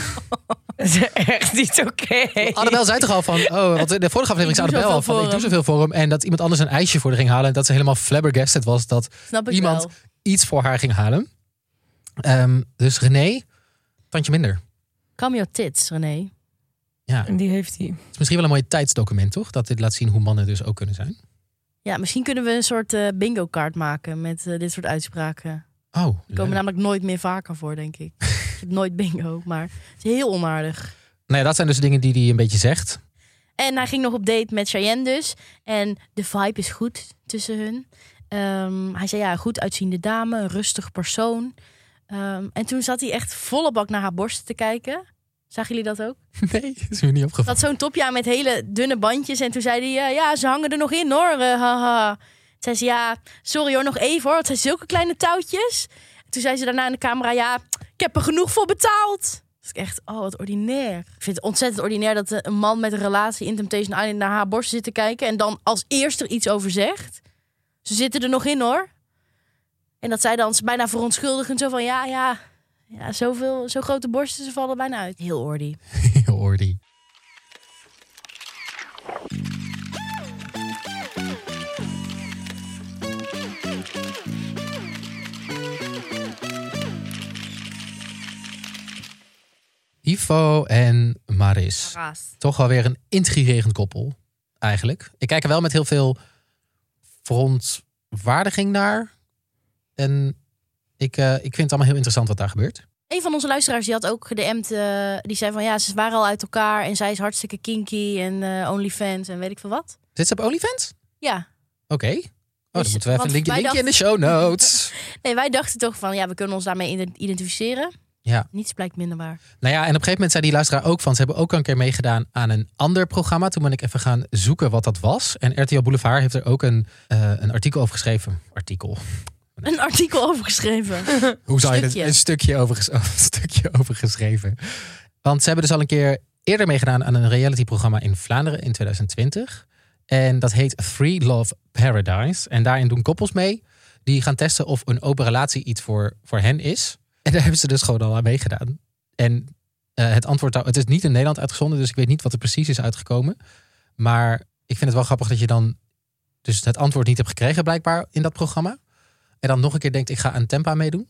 Dat is echt niet oké.
Annabel zei toch al van... Oh, want in de vorige aflevering zei
Ik doe
Annabel al
zoveel
van... Ik
voor
doe
hem.
zoveel voor hem. En dat iemand anders een ijsje voor haar ging halen. En dat ze helemaal flabbergasted was. Dat
Snap ik
iemand
wel.
iets voor haar ging halen. Ehm, dus René, tandje minder.
Cameo tits, René.
Ja,
En die heeft hij.
Het is misschien wel een mooi tijdsdocument, toch? Dat dit laat zien hoe mannen dus ook kunnen zijn.
Ja, misschien kunnen we een soort eh, bingo-kaart maken met eh, dit soort uitspraken.
Oh,
Die komen
leuk.
namelijk nooit meer vaker voor, denk ik. ik heb nooit bingo, maar het is heel onaardig.
nou ja, dat zijn dus dingen die hij een beetje
(laughs)
zegt.
En hij ging nog op date met Cheyenne dus. En de vibe is goed tussen hun. Ehm, hij zei ja, een goed uitziende dame, een rustig persoon. Ehm, en toen zat hij echt volle bak naar haar borsten te kijken. Zagen jullie dat ook?
Nee, (laughs) is me niet opgevallen.
Dat zo'n topje aan met hele dunne bandjes. En toen zei hij, eh, ja, ze hangen er nog in hoor. eh, haha. Toen zei ze, ja, sorry hoor, nog even hoor. Het zijn zulke kleine touwtjes. En toen zei ze daarna in de camera, ja, ik heb er genoeg voor betaald. Dus ik echt, oh, wat ordinair. Ik vind het ontzettend ordinair dat eh, een man met een relatie in Temptation Island naar haar borsten zit te kijken. En dan als eerste er iets over zegt. Ze zitten er nog in hoor. En dat zij dan bijna verontschuldigend zo van, ja, ja. Ja, zoveel, zo grote borsten, ze vallen bijna uit. Heel ordy.
(laughs) Heel ordy. Ivo en Maris.
Raas.
toch wel weer een intrigerend koppel, eigenlijk. Ik kijk er wel met heel veel verontwaardiging naar. En ik, eh, ik vind het allemaal heel interessant wat daar gebeurt.
Een van onze luisteraars die had ook gedm'd. eh, die zei van ja, ze waren al uit elkaar. En zij is hartstikke kinky en eh, OnlyFans en weet ik veel wat.
Zit ze op OnlyFans?
Ja.
Oké. Oh, dan moeten
Dus,
we even een
want
linkje,
wij
linkje in de show notes. (laughs)
Nee, wij dachten toch van ja, we kunnen ons daarmee ident- identificeren.
Ja.
Niets blijkt minder waar.
nou ja, en op een gegeven moment zei die luisteraar ook van... ze hebben ook al een keer meegedaan aan een ander programma. Toen ben ik even gaan zoeken wat dat was. En RTL Boulevard heeft er ook een, eh, een artikel over geschreven. Artikel.
Een artikel (laughs) over
(laughs)
geschreven.
Hoe zou je het?
Stukje.
Een stukje, over, ges- (laughs) een stukje over geschreven. Want ze hebben dus al een keer eerder meegedaan aan een realityprogramma in Vlaanderen in 2020. En dat heet Free Love Paradise. En daarin doen koppels mee die gaan testen of een open relatie iets voor, voor hen is. En daar hebben ze dus gewoon al aan meegedaan. En eh, het antwoord, daar- het is niet in Nederland uitgezonden, dus ik weet niet wat er precies is uitgekomen. Maar ik vind het wel grappig dat je dan dus het antwoord niet hebt gekregen blijkbaar in dat programma. En dan nog een keer denkt, ik ga aan Tempa meedoen.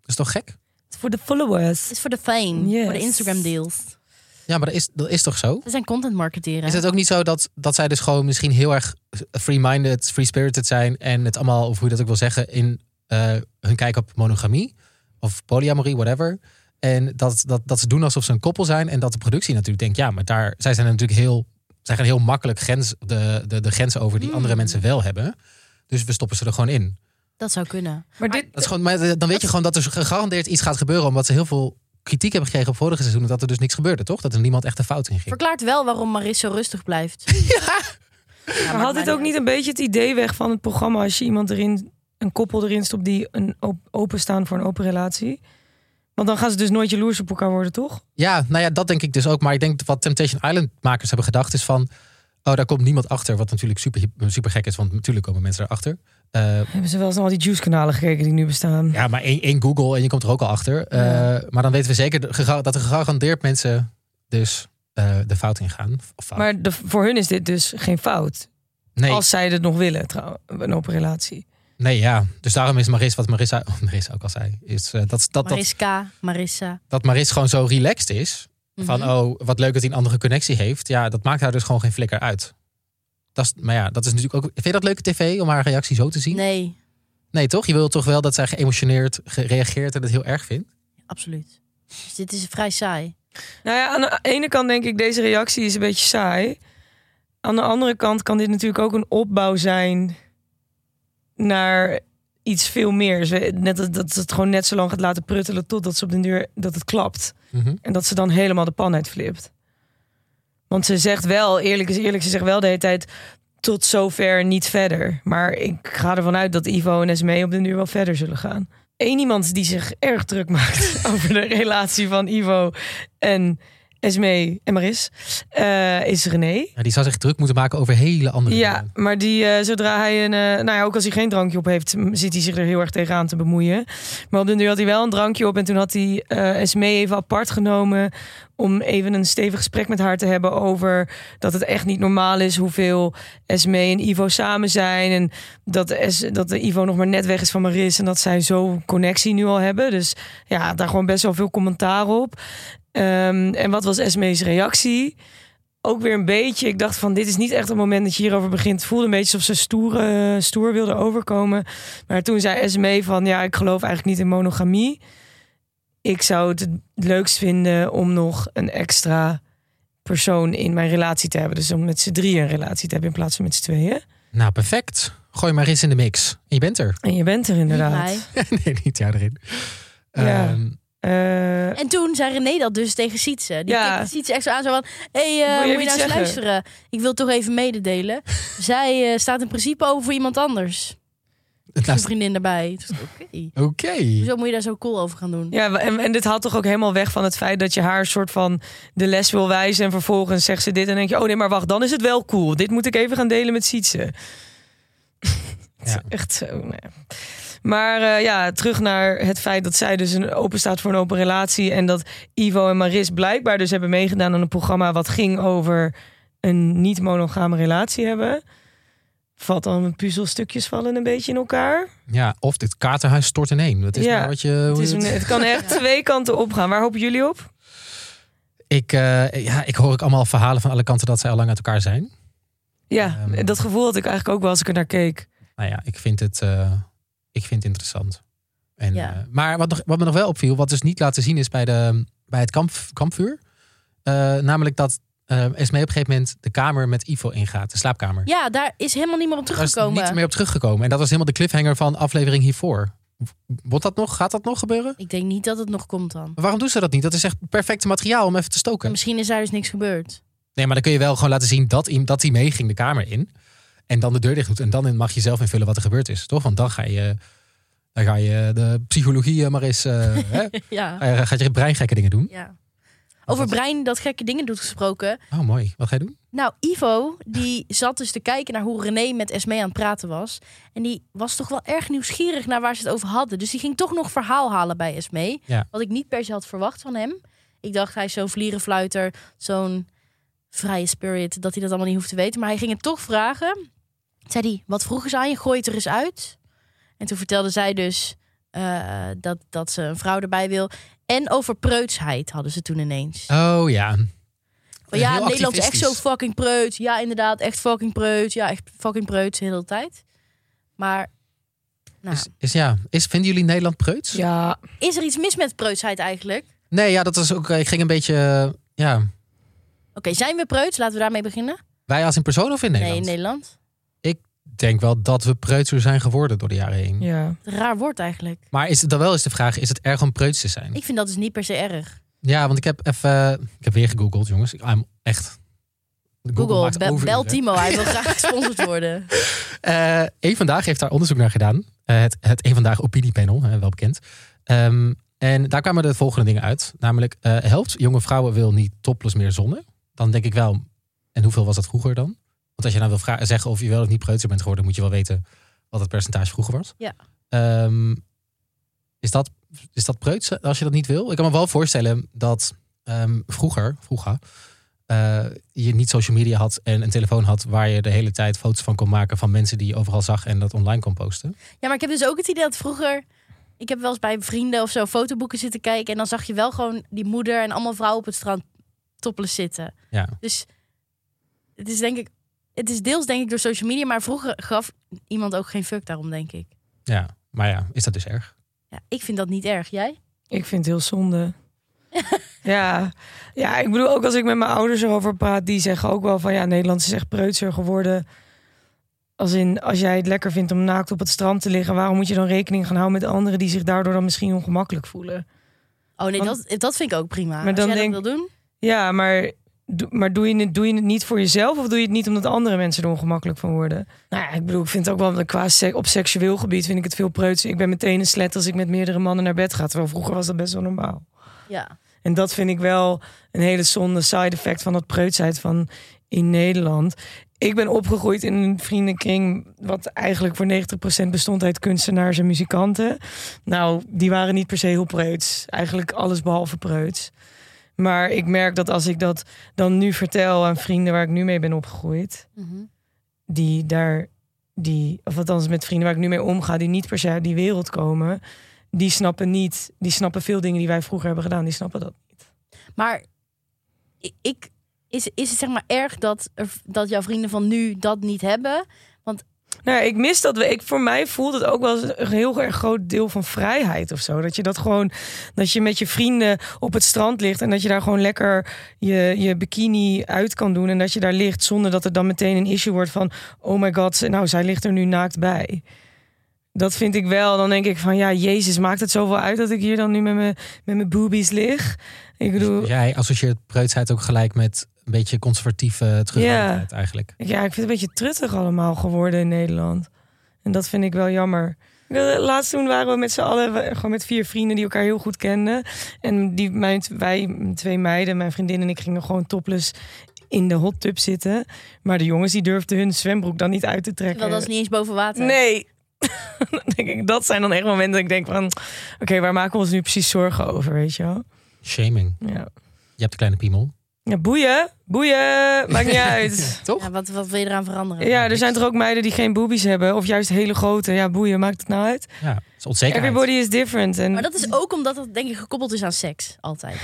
Dat is toch gek?
Voor de followers.
Het is voor de fame.
Yes.
Voor de Instagram deals.
Ja, maar dat is, dat is toch zo?
Ze zijn content marketeren.
Is het ook niet zo dat, dat zij dus gewoon misschien heel erg free-minded, free-spirited zijn en het allemaal, of hoe je dat ook wil zeggen, in eh, hun kijk op monogamie of polyamorie, whatever. En dat, dat, dat ze doen alsof ze een koppel zijn en dat de productie natuurlijk denkt, ja, maar daar, zij zijn natuurlijk heel, zij gaan heel makkelijk grens, de, de, de grenzen over die andere
Mm.
mensen wel hebben. Dus we stoppen ze er gewoon in.
Dat zou kunnen.
Maar dit,
Dat is gewoon, maar dan weet je gewoon dat er gegarandeerd iets gaat gebeuren, omdat ze heel veel kritiek hebben gekregen op vorige seizoenen, dat er dus niks gebeurde, toch? Dat er niemand echt de fout in ging.
Verklaart wel waarom Maris zo rustig
(laughs)
blijft. Ja,
maar
maar
had dit ook niet een beetje het idee weg van het programma als je iemand erin, een koppel erin stopt die een op, openstaan voor een open relatie? Want dan gaan ze dus nooit jaloers op elkaar worden, toch?
Ja, nou ja, dat denk ik dus ook. Maar ik denk dat wat Temptation Island makers hebben gedacht is van... Oh, daar komt niemand achter. Wat natuurlijk super, super gek is, want natuurlijk komen mensen erachter. Eh
Hebben ze wel eens naar al die juice-kanalen gekeken die nu bestaan?
ja, maar één, één Google en je komt er ook al achter. Eh,
Ja.
Maar dan weten we zeker de- gega- dat er gegarandeerd mensen dus eh, de fout in gaan. Of fout.
Maar de, voor hun is dit dus geen fout.
nee,
Als zij het nog willen, trouwens, een open relatie.
nee, ja. Dus daarom is Maris, wat Marissa, (laughs) oh, Marissa ook al zei... is eh, dat, dat, dat,
Mariska, Marissa.
dat Maris gewoon zo relaxed is. Van,
Mhm.
oh, wat leuk dat hij een andere connectie heeft. Ja, dat maakt haar dus gewoon geen flikker uit. Dat is, maar ja, dat is natuurlijk ook... Vind je dat leuke tv, om haar reactie zo te zien?
Nee,
Nee, toch? Je wil toch wel dat zij geëmotioneerd gereageerd en het heel erg vindt?
absoluut. Dus dit is vrij saai.
Nou ja, aan de ene kant denk ik, deze reactie is een beetje saai. Aan de andere kant kan dit natuurlijk ook een opbouw zijn naar iets veel meer. Ze- Net dat, dat ze het gewoon net zo lang gaat laten pruttelen totdat ze op den duur dat het klapt. En dat ze dan helemaal de pan uitflipt. Want ze zegt wel, eerlijk is eerlijk, ze zegt wel de hele tijd tot zover en niet verder. Maar ik ga ervan uit dat Ivo en Esmee op de nu wel verder zullen gaan. Eén iemand die zich erg druk maakt (laughs) over de relatie van Ivo en Esmee en Maris eh, is René.
Ja, die zou zich druk moeten maken over hele andere
Ja,
dingen.
maar die, eh, zodra hij een. eh, nou ja, ook als hij geen drankje op heeft, m- zit hij zich er heel erg tegenaan te bemoeien. Maar op den duur had hij wel een drankje op. En toen had hij eh Esmee even apart genomen. Om even een stevig gesprek met haar te hebben over dat het echt niet normaal is hoeveel Esmee en Ivo samen zijn. En dat, Es- dat de Ivo nog maar net weg is van Maris. En dat zij zo'n connectie nu al hebben. Dus ja, daar gewoon best wel veel commentaar op. Ehm, en wat was Esmees reactie? ook weer een beetje. Ik dacht van dit is niet echt het moment dat je hierover begint. Het voelde een beetje alsof ze stoer, eh, stoer wilde overkomen. Maar toen zei SME van ja, ik geloof eigenlijk niet in monogamie. Ik zou het het leukst vinden om nog een extra persoon in mijn relatie te hebben. Dus om met z'n drieën een relatie te hebben in plaats van met z'n tweeën.
Nou, perfect. Gooi maar eens in de mix. En je bent
(laughs)
er.
En je bent er inderdaad.
mij.
nee, niet jou erin.
Ja.
Ehm,
Eh,
En toen zei René dat dus tegen Sietse. Die
Ja.
tikte Sietse echt zo aan, zo van... Hé, hey,
Moet je
moet je
even
nou
iets
eens
zeggen?
luisteren? Ik wil het toch even
(laughs)
mededelen. Zij eh, staat in principe over voor iemand anders. Zijn
nou,
vriendin erbij. Toen dacht ik, Oké.
Oké.
Hoezo moet je daar zo cool over gaan doen?
Ja, en, en dit haalt toch ook helemaal weg van het feit dat je haar een soort van de les wil wijzen. En vervolgens zegt ze dit. En dan denk je, oh nee, maar wacht, dan is het wel cool. Dit moet ik even gaan delen met Sietse. (laughs) Het is
Ja.
Echt zo. nou ja. Maar eh, ja, terug naar het feit dat zij dus een open staat voor een open relatie. En dat Ivo en Maris blijkbaar dus hebben meegedaan aan een programma wat ging over een niet-monogame relatie hebben. Valt dan met puzzelstukjes vallen een beetje in elkaar.
Ja, of dit katerhuis stort ineen. Dat is
Ja,
maar wat je... hoe
Het, is
je het-
een- het
(laughs)
kan echt twee kanten opgaan. Waar hopen jullie op?
Ik, eh, ja, ik hoor ook allemaal verhalen van alle kanten dat zij al lang uit elkaar zijn.
Ja,
Ehm.
dat gevoel had ik eigenlijk ook wel als ik er naar keek.
Nou ja, ik vind het, eh, ik vind het interessant. En,
Ja.
eh, maar wat, nog, wat me nog wel opviel, wat dus niet laten zien is bij, de, bij het kamp, kampvuur. eh, namelijk dat eh Esmee op een gegeven moment de kamer met Ivo ingaat, de slaapkamer.
Ja, daar is helemaal niet meer op
Daar is
teruggekomen.
niet meer op teruggekomen. En dat was helemaal de cliffhanger van aflevering hiervoor. Wordt dat nog? Gaat dat nog gebeuren?
Ik denk niet dat het nog komt dan.
Maar waarom doen ze dat niet? Dat is echt perfect materiaal om even te stoken.
Misschien is daar dus niks
(laughs)
gebeurd.
Nee, maar dan kun je wel gewoon laten zien dat, hij- dat hij meeging de kamer in. En dan de deur dicht doet. En dan mag je zelf invullen wat er gebeurd is, toch? Want dan ga je, dan ga je de psychologie eh, maar eens...
(laughs)
eh, hè?
Ja.
Eh, Gaat je brein gekke dingen doen.
ja. Over brein dat gekke dingen doet gesproken.
Oh, mooi. Wat ga je doen?
Nou, Ivo, die zat dus te kijken naar hoe René met Esme aan het praten was. En die was toch wel erg nieuwsgierig naar waar ze het over hadden. Dus die ging toch nog verhaal halen bij Esme.
Ja.
Wat ik niet per se had verwacht van hem. Ik dacht, hij is zo'n vlierenfluiter, zo'n vrije spirit, dat hij dat allemaal niet hoeft te weten. Maar hij ging het toch vragen. Toen Zei hij, wat vroegen ze aan je? Gooi het er eens uit. En toen vertelde zij dus eh, dat, dat ze een vrouw erbij wil. En over preutsheid hadden ze toen ineens.
Oh ja.
Van ja,
Heel
Nederland is echt zo
activistisch.
fucking preut. Ja, inderdaad, echt fucking preut. Ja, echt fucking preut de hele tijd. Maar nou,
Is, is, ja. Is, vinden jullie Nederland preuts?
Ja,
is er iets mis met preutsheid eigenlijk? Oké,
Nee, ja, dat was ook... eh, Ik ging een beetje... eh, ja.
zijn we preuts? Laten we daarmee beginnen.
Wij als in persoon of in
Nee,
Nederland?
in Nederland.
Ik denk wel dat we preutser zijn geworden door de jaren heen.
ja.
Raar woord eigenlijk.
Maar is het dan wel eens de vraag, is het erg om preuts te zijn?
Ik vind dat dus niet per se erg.
Ja, want ik heb even. eh, Ik heb weer gegoogeld, jongens. Ik I'm echt.
Google,
maakt
be-
overuren.
bel Timo. Hij wil graag gesponsord
(laughs)
worden.
Eh, Eén Vandaag heeft daar onderzoek naar gedaan. Eh, het, het Eén Vandaag opiniepanel, hè, wel bekend. Ehm, en daar kwamen de volgende dingen uit. Namelijk, eh, helpt jonge vrouwen wil niet topless meer zonnen. Dan denk ik wel, en hoeveel was dat vroeger dan? Want als je nou wil vra- zeggen of je wel of niet preutser bent geworden... moet je wel weten wat het percentage vroeger was.
Ja.
Ehm, is, dat, is dat preuts als je dat niet wil? Ik kan me wel voorstellen dat ehm, vroeger, vroeger eh, je niet social media had en een telefoon had waar je de hele tijd foto's van kon maken van mensen die je overal zag en dat online kon posten.
Ja, maar ik heb dus ook het idee dat vroeger... Ik heb wel eens bij vrienden of zo fotoboeken zitten kijken. En dan zag je wel gewoon die moeder en allemaal vrouwen op het strand toppelen zitten.
Ja.
Dus het is denk ik, het is deels denk ik door social media, maar vroeger gaf iemand ook geen fuck daarom, denk ik.
Ja, maar ja, is dat dus erg?
Ja, ik vind dat niet erg. Jij?
Ik vind het heel zonde. ja. ja, ik bedoel, ook als ik met mijn ouders erover praat, die zeggen ook wel van ja, Nederland is echt preutser geworden. Als in, als jij het lekker vindt om naakt op het strand te liggen, waarom moet je dan rekening gaan houden met anderen die zich daardoor dan misschien ongemakkelijk voelen?
Oh nee,
Want-
dat, dat vind ik ook prima.
Maar
Als
dan
jij
denk-
dat wil doen.
Ja, maar Doe- maar doe je, het, doe je het niet voor jezelf of doe je het niet omdat andere mensen er ongemakkelijk van worden? Nou ja, ik bedoel, ik vind het ook wel qua se- op seksueel gebied vind ik het veel preuts. Ik ben meteen een slet als ik met meerdere mannen naar bed ga. Terwijl vroeger was dat best wel normaal.
Ja.
En dat vind ik wel een hele zonde side effect van dat preutsheid van in Nederland. Ik ben opgegroeid in een vriendenkring wat eigenlijk voor 90% bestond uit kunstenaars en muzikanten. Nou, die waren niet per se heel preuts. Eigenlijk alles behalve preuts. Maar ik merk dat als ik dat dan nu vertel aan vrienden waar ik nu mee ben opgegroeid,
Mhm.
die daar, die, of althans met vrienden waar ik nu mee omga, die niet per se uit die wereld komen, die snappen niet, die snappen veel dingen die wij vroeger hebben gedaan, die snappen dat.
Maar ik- ik, is, is het zeg maar erg dat, er- dat jouw vrienden van nu dat niet hebben?
Nou, ja, ik mis dat. we- Ik, voor mij voelt het ook wel als een heel erg groot deel van vrijheid of zo. Dat je dat gewoon, dat je met je vrienden op het strand ligt en dat je daar gewoon lekker je, je bikini uit kan doen en dat je daar ligt zonder dat het dan meteen een issue wordt van, oh my god, ze- nou, zij ligt er nu naakt bij. Dat vind ik wel. Dan denk ik van, ja, Jezus, maakt het zoveel uit dat ik hier dan nu met mijn, met mijn boobies lig? Ik bedoel,
Dus jij associeert preutsheid ook gelijk met een beetje conservatieve terughoudendheid eigenlijk.
Ja, ik vind het een beetje truttig allemaal geworden in Nederland. En dat vind ik wel jammer. Ik wil- Laatst toen waren we met z'n allen, we- gewoon met vier vrienden die elkaar heel goed kenden. En die, mijn, t- wij, mijn twee meiden, mijn vriendin en ik, gingen gewoon topless in de hot tub zitten. Maar de jongens die durfden hun zwembroek dan niet uit te trekken.
Terwijl dat is niet eens boven water.
Nee. (laughs) Dan denk ik, dat zijn dan echt momenten dat ik denk van... Oké, waar maken we ons nu precies zorgen over, weet je wel?
Shaming.
Ja,
Je hebt een kleine piemel.
ja boeien, boeien, maakt
(laughs)
niet uit.
Toch?
Ja, wat, wat wil je eraan veranderen?
Ja, er zijn toch ook meiden die geen boobies hebben. Of juist hele grote. Ja, boeien, maakt het nou uit?
Ja, het is onzekerheid.
Everybody is different. En
Maar dat is ook omdat dat denk ik gekoppeld is aan seks, altijd.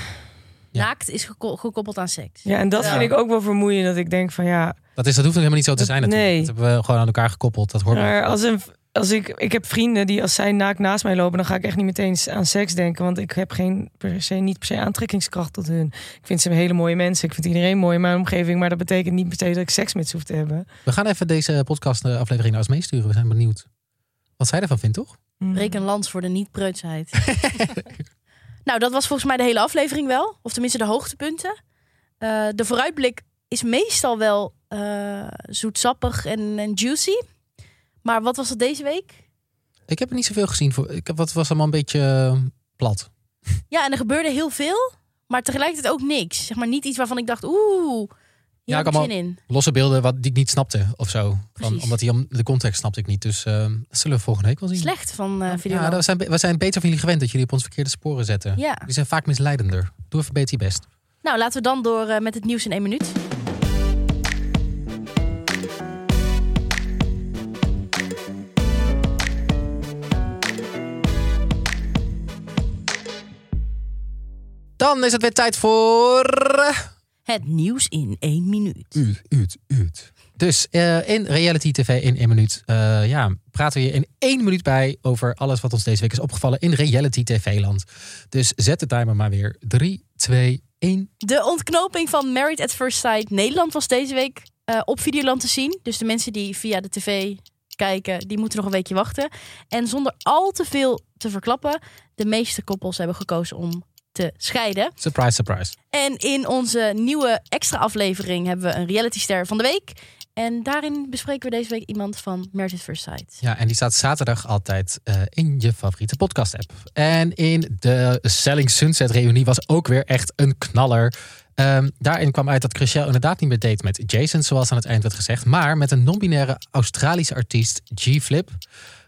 Ja.
Naakt is geko- gekoppeld aan seks.
ja, en dat
Ja.
vind ik ook wel vermoeiend. Dat ik denk van ja,
Dat, is, dat hoeft ook helemaal niet zo te
Dat-
zijn natuurlijk.
nee.
Dat hebben we gewoon aan elkaar gekoppeld. Dat hoort bij
maar als, een, als ik, ik heb vrienden die als zij naakt naast mij lopen, dan ga ik echt niet meteen aan seks denken. Want ik heb geen per se, niet per se aantrekkingskracht tot hun. Ik vind ze hele mooie mensen. Ik vind iedereen mooi in mijn omgeving. Maar dat betekent niet per se dat ik seks met ze hoef te hebben.
We gaan even deze podcast eh, aflevering naar ons meesturen. We zijn benieuwd wat zij ervan vindt,
(laughs)
toch?
Hm.
Breek een lans voor de niet-preutsheid. (laughs) nou, dat was volgens mij de hele aflevering wel. Of tenminste de hoogtepunten. Eh, de vooruitblik is meestal wel eh, zoetsappig en, en juicy. Maar wat was dat deze week?
Ik heb er niet zoveel gezien. Voor, ik heb, wat was allemaal een beetje eh, plat.
Ja, en er gebeurde heel veel. Maar tegelijkertijd ook niks. Zeg maar niet iets waarvan ik dacht, oeh,
Ja,
hier heb ik
kan
zin in.
Losse beelden wat, die ik niet snapte of zo. Van,
Precies.
omdat die, om- de context snapte ik niet. Dus eh, dat zullen we volgende week wel zien.
Slecht van eh video.
Ja, dat zijn, we zijn beter van jullie gewend dat jullie op ons verkeerde sporen zetten.
ja.
Die zijn vaak misleidender. Doe even beter je best.
Nou, laten we dan door eh, met het nieuws in één minuut.
Dan is het weer tijd voor...
Het nieuws in één minuut.
Uit, uit, uit. Dus eh, in Reality TV in één minuut eh, ja, praten we je in één minuut bij over alles wat ons deze week is opgevallen in Reality TV-land. Dus zet de timer maar weer. 3, 2, 1.
De ontknoping van Married at First Sight Nederland was deze week eh, op Videoland te zien. Dus de mensen die via de tv kijken, die moeten nog een weekje wachten. En zonder al te veel te verklappen, de meeste koppels hebben gekozen om te scheiden.
Surprise, surprise.
En in onze nieuwe extra aflevering hebben we een realityster van de week. En daarin bespreken we deze week iemand van Married at First Sight.
Ja, en die staat zaterdag altijd eh, in je favoriete podcast-app. En in de Selling Sunset reunie was ook weer echt een knaller. Ehm, daarin kwam uit dat Chriselle inderdaad niet meer date met Jason, zoals aan het eind werd gezegd, maar met een non-binaire Australische artiest G-Flip.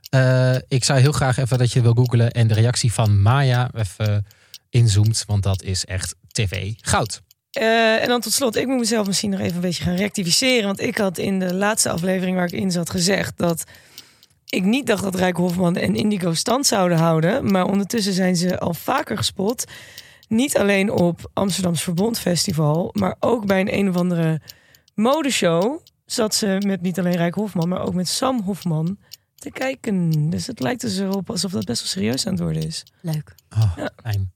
Eh, ik zou heel graag even dat je wil googlen en de reactie van Maya even inzoomt, want dat is echt tv goud.
Eh, en dan tot slot, ik moet mezelf misschien nog even een beetje gaan rectificeren. Want ik had in de laatste aflevering waar ik in zat gezegd dat ik niet dacht dat Rijk Hofman en Indigo stand zouden houden. Maar ondertussen zijn ze al vaker gespot. Niet alleen op Amsterdams Verbond Festival, maar ook bij een een of andere modeshow zat ze met niet alleen Rijk Hofman, maar ook met Sam Hofman te kijken. Dus het lijkt dus erop alsof dat best wel serieus aan het worden is.
Leuk.
Oh,
Ja.
fijn.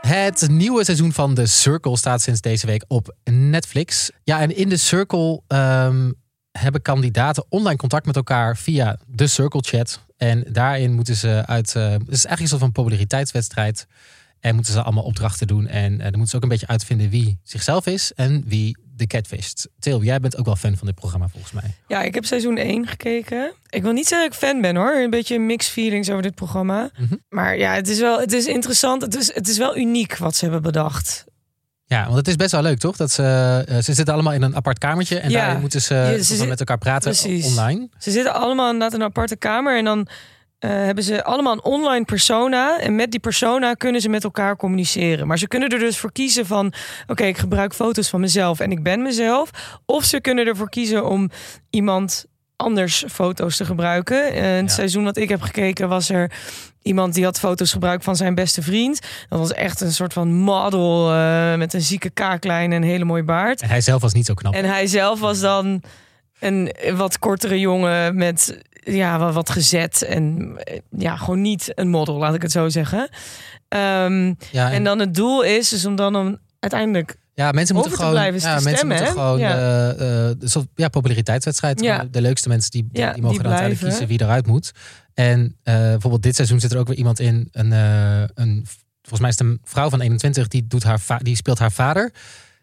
Het nieuwe seizoen van The Circle staat sinds deze week op Netflix. Ja, en in The Circle ehm, hebben kandidaten online contact met elkaar via The Circle Chat. En daarin moeten ze uit. eh, Het is eigenlijk een soort van populariteitswedstrijd. En moeten ze allemaal opdrachten doen. En eh, dan moeten ze ook een beetje uitvinden wie zichzelf is en wie de catfisht. Til, jij bent ook wel fan van dit programma volgens mij.
Ja, ik heb seizoen 1 gekeken. Ik wil niet zeggen dat ik fan ben hoor. Een beetje mixed feelings over dit programma.
Mhm.
Maar ja, het is wel het is interessant. Het is, het is wel uniek wat ze hebben bedacht.
Ja, want het is best wel leuk, toch? Dat ze, eh, ze zitten allemaal in een apart kamertje en
Ja.
daarin moeten ze,
Ja, ze
tot en
zit-
met elkaar praten
Precies.
online.
Ze zitten allemaal inderdaad in een aparte kamer. En dan eh, hebben ze allemaal een online persona. En met die persona kunnen ze met elkaar communiceren. Maar ze kunnen er dus voor kiezen van... Oké, ik gebruik foto's van mezelf en ik ben mezelf. Of ze kunnen ervoor kiezen om iemand anders foto's te gebruiken. Eh, het
Ja.
seizoen dat ik heb gekeken was er... Iemand die had foto's gebruikt van zijn beste vriend. Dat was echt een soort van model eh, met een zieke kaaklijn en een hele mooie baard.
En hij zelf was niet zo knap.
En hij zelf was dan een wat kortere jongen met ja, wa- wat gezet. En eh, ja, gewoon niet een model, laat ik het zo zeggen. Ehm,
ja, en-
en dan het doel is dus om dan om uiteindelijk...
Ja, mensen
Over
moeten
te
gewoon,
blijven is
ja,
te
mensen
stemmen,
moeten
hè?
gewoon
Ja.
eh, eh, een soort ja, populariteitswedstrijd.
Ja.
Gewoon De leukste mensen die, die,
Ja,
die mogen
die
dan uiteindelijk
blijven.
kiezen wie eruit moet. En eh, bijvoorbeeld dit seizoen zit er ook weer iemand in, een, eh, een volgens mij is het een vrouw van 21, die, doet haar va- die speelt haar vader.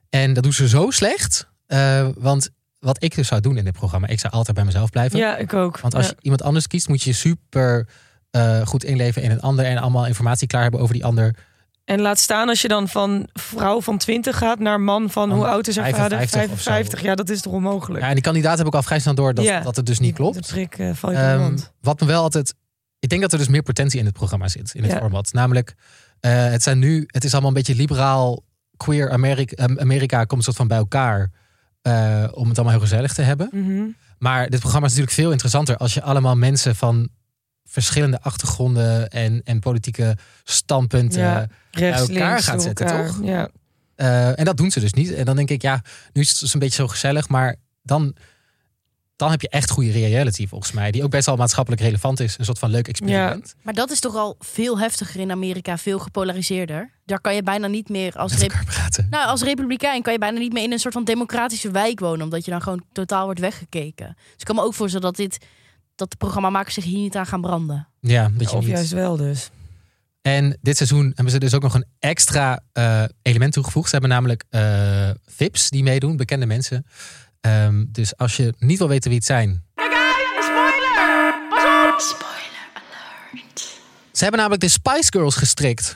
En dat doet ze zo slecht. eh, want wat ik dus zou doen in dit programma, ik zou altijd bij mezelf blijven.
Ja, ik ook.
Want als
Ja.
je iemand anders kiest, moet je super eh, goed inleven in een ander. En allemaal informatie klaar hebben over die ander.
En laat staan als je dan van vrouw van 20 gaat naar man van...
Van
hoe oud is haar vader?
55 of zo.
55. Ja, dat is toch onmogelijk?
Ja, en die kandidaat heb ik al vrij snel door dat,
Ja.
dat het dus niet klopt.
De trick eh, valt je
Ehm,
van de hand.
wat me wel altijd. Ik denk dat er dus meer potentie in het programma zit, in het
Ja.
format. Namelijk, eh, het zijn nu, het is allemaal een beetje liberaal, queer Amerika, Amerika komt soort van bij elkaar. eh, om het allemaal heel gezellig te hebben.
Mhm.
Maar dit programma is natuurlijk veel interessanter als je allemaal mensen van verschillende achtergronden en, en politieke standpunten.
Ja. Rechts,
elkaar
links,
gaat
door
zetten,
elkaar.
toch?
Ja.
eh, en dat doen ze dus niet. En dan denk ik, ja, nu is het dus een beetje zo gezellig, maar dan, dan heb je echt goede reality volgens mij. Die ook best wel maatschappelijk relevant is. Een soort van leuk experiment.
Maar dat is toch al veel heftiger in Amerika, veel gepolariseerder. Daar kan je bijna niet meer als,
met
rep-
elkaar praten.
nou, als republikein kan je bijna niet meer in een soort van democratische wijk wonen, omdat je dan gewoon totaal wordt weggekeken. Dus ik kan me ook voorstellen dat dit dat de programmamakers zich hier niet aan gaan branden.
Ja, dat je
Of
niet.
juist wel
(laughs)
dus.
En dit seizoen hebben ze dus ook nog een extra eh, element toegevoegd. Ze hebben namelijk eh VIPs die meedoen, bekende mensen. Ehm, dus als je niet wil weten wie het zijn. Ze hebben namelijk de Spice Girls gestrikt. (laughs)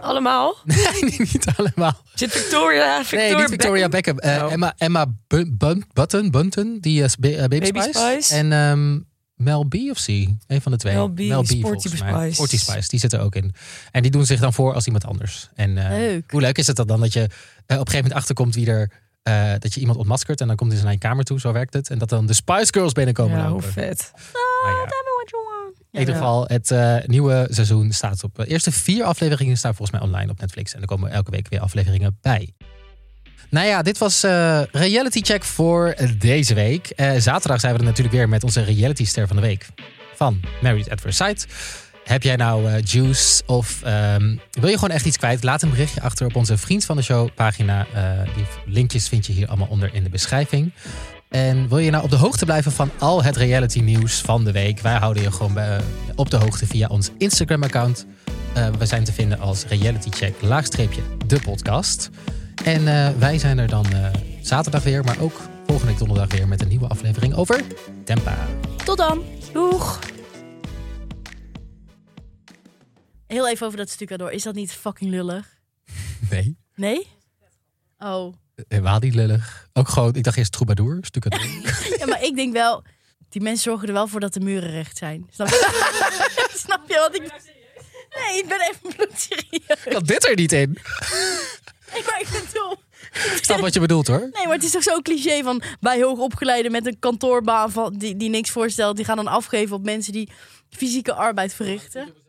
Allemaal?
Nee, niet allemaal.
Zit Victoria, Victoria,
nee, niet Victoria Beckham. Eh,
Oh.
Emma, Emma Bu- Bun- Button, Bunton, die is ba- eh, Baby,
Baby
Spice.
Spice.
En ehm, Mel B of C, een van de twee.
Mel B, Sporty
volgens mij.
Spice.
Sporty Spice, die zit er ook in. En die doen zich dan voor als iemand anders. En eh,
Leuk.
hoe leuk is het dat dan dat je eh, op een gegeven moment achterkomt wie er... eh, dat je iemand ontmaskert en dan komt hij dus naar je kamer toe, zo werkt het. En dat dan de Spice Girls binnenkomen.
Ja, hoe
lopen.
vet.
Nou ja. In ieder geval, het eh, nieuwe seizoen staat op. De eerste vier afleveringen staan volgens mij online op Netflix. En er komen elke week weer afleveringen bij. Nou ja, dit was eh, Reality Check voor deze week. Eh, zaterdag zijn we er natuurlijk weer met onze Reality Ster van de Week. Van Married at First Sight. Heb jij nou eh, juice of ehm, wil je gewoon echt iets kwijt? Laat een berichtje achter op onze Vriend van de Show pagina. Eh, die linkjes vind je hier allemaal onder in de beschrijving. En wil je nou op de hoogte blijven van al het reality nieuws van de week? Wij houden je gewoon eh, op de hoogte via ons Instagram-account. Eh, we zijn te vinden als realitycheck laagstreepje de podcast. En eh, wij zijn er dan eh, zaterdag weer, maar ook volgende week donderdag weer met een nieuwe aflevering over Tempa.
Tot dan.
Doeg!
Heel even over dat stucador. Is dat niet fucking lullig?
Nee,
Nee? Oh.
helemaal niet Eh, lullig. Ook gewoon, ik dacht eerst troubadour, stukken.
Ja, maar ik denk wel... Die mensen zorgen er wel voor dat de muren recht zijn. Snap je,
(laughs)
Snap je wat ik... Nee, ik ben even bloedserieus.
kan dit er niet in?
Nee, maar ik bedoel...
Ik snap wat je bedoelt hoor.
Nee, maar het is toch zo'n cliché van... Bij hoogopgeleiden met een kantoorbaan van, die, die niks voorstelt... die gaan dan afgeven op mensen die fysieke arbeid verrichten.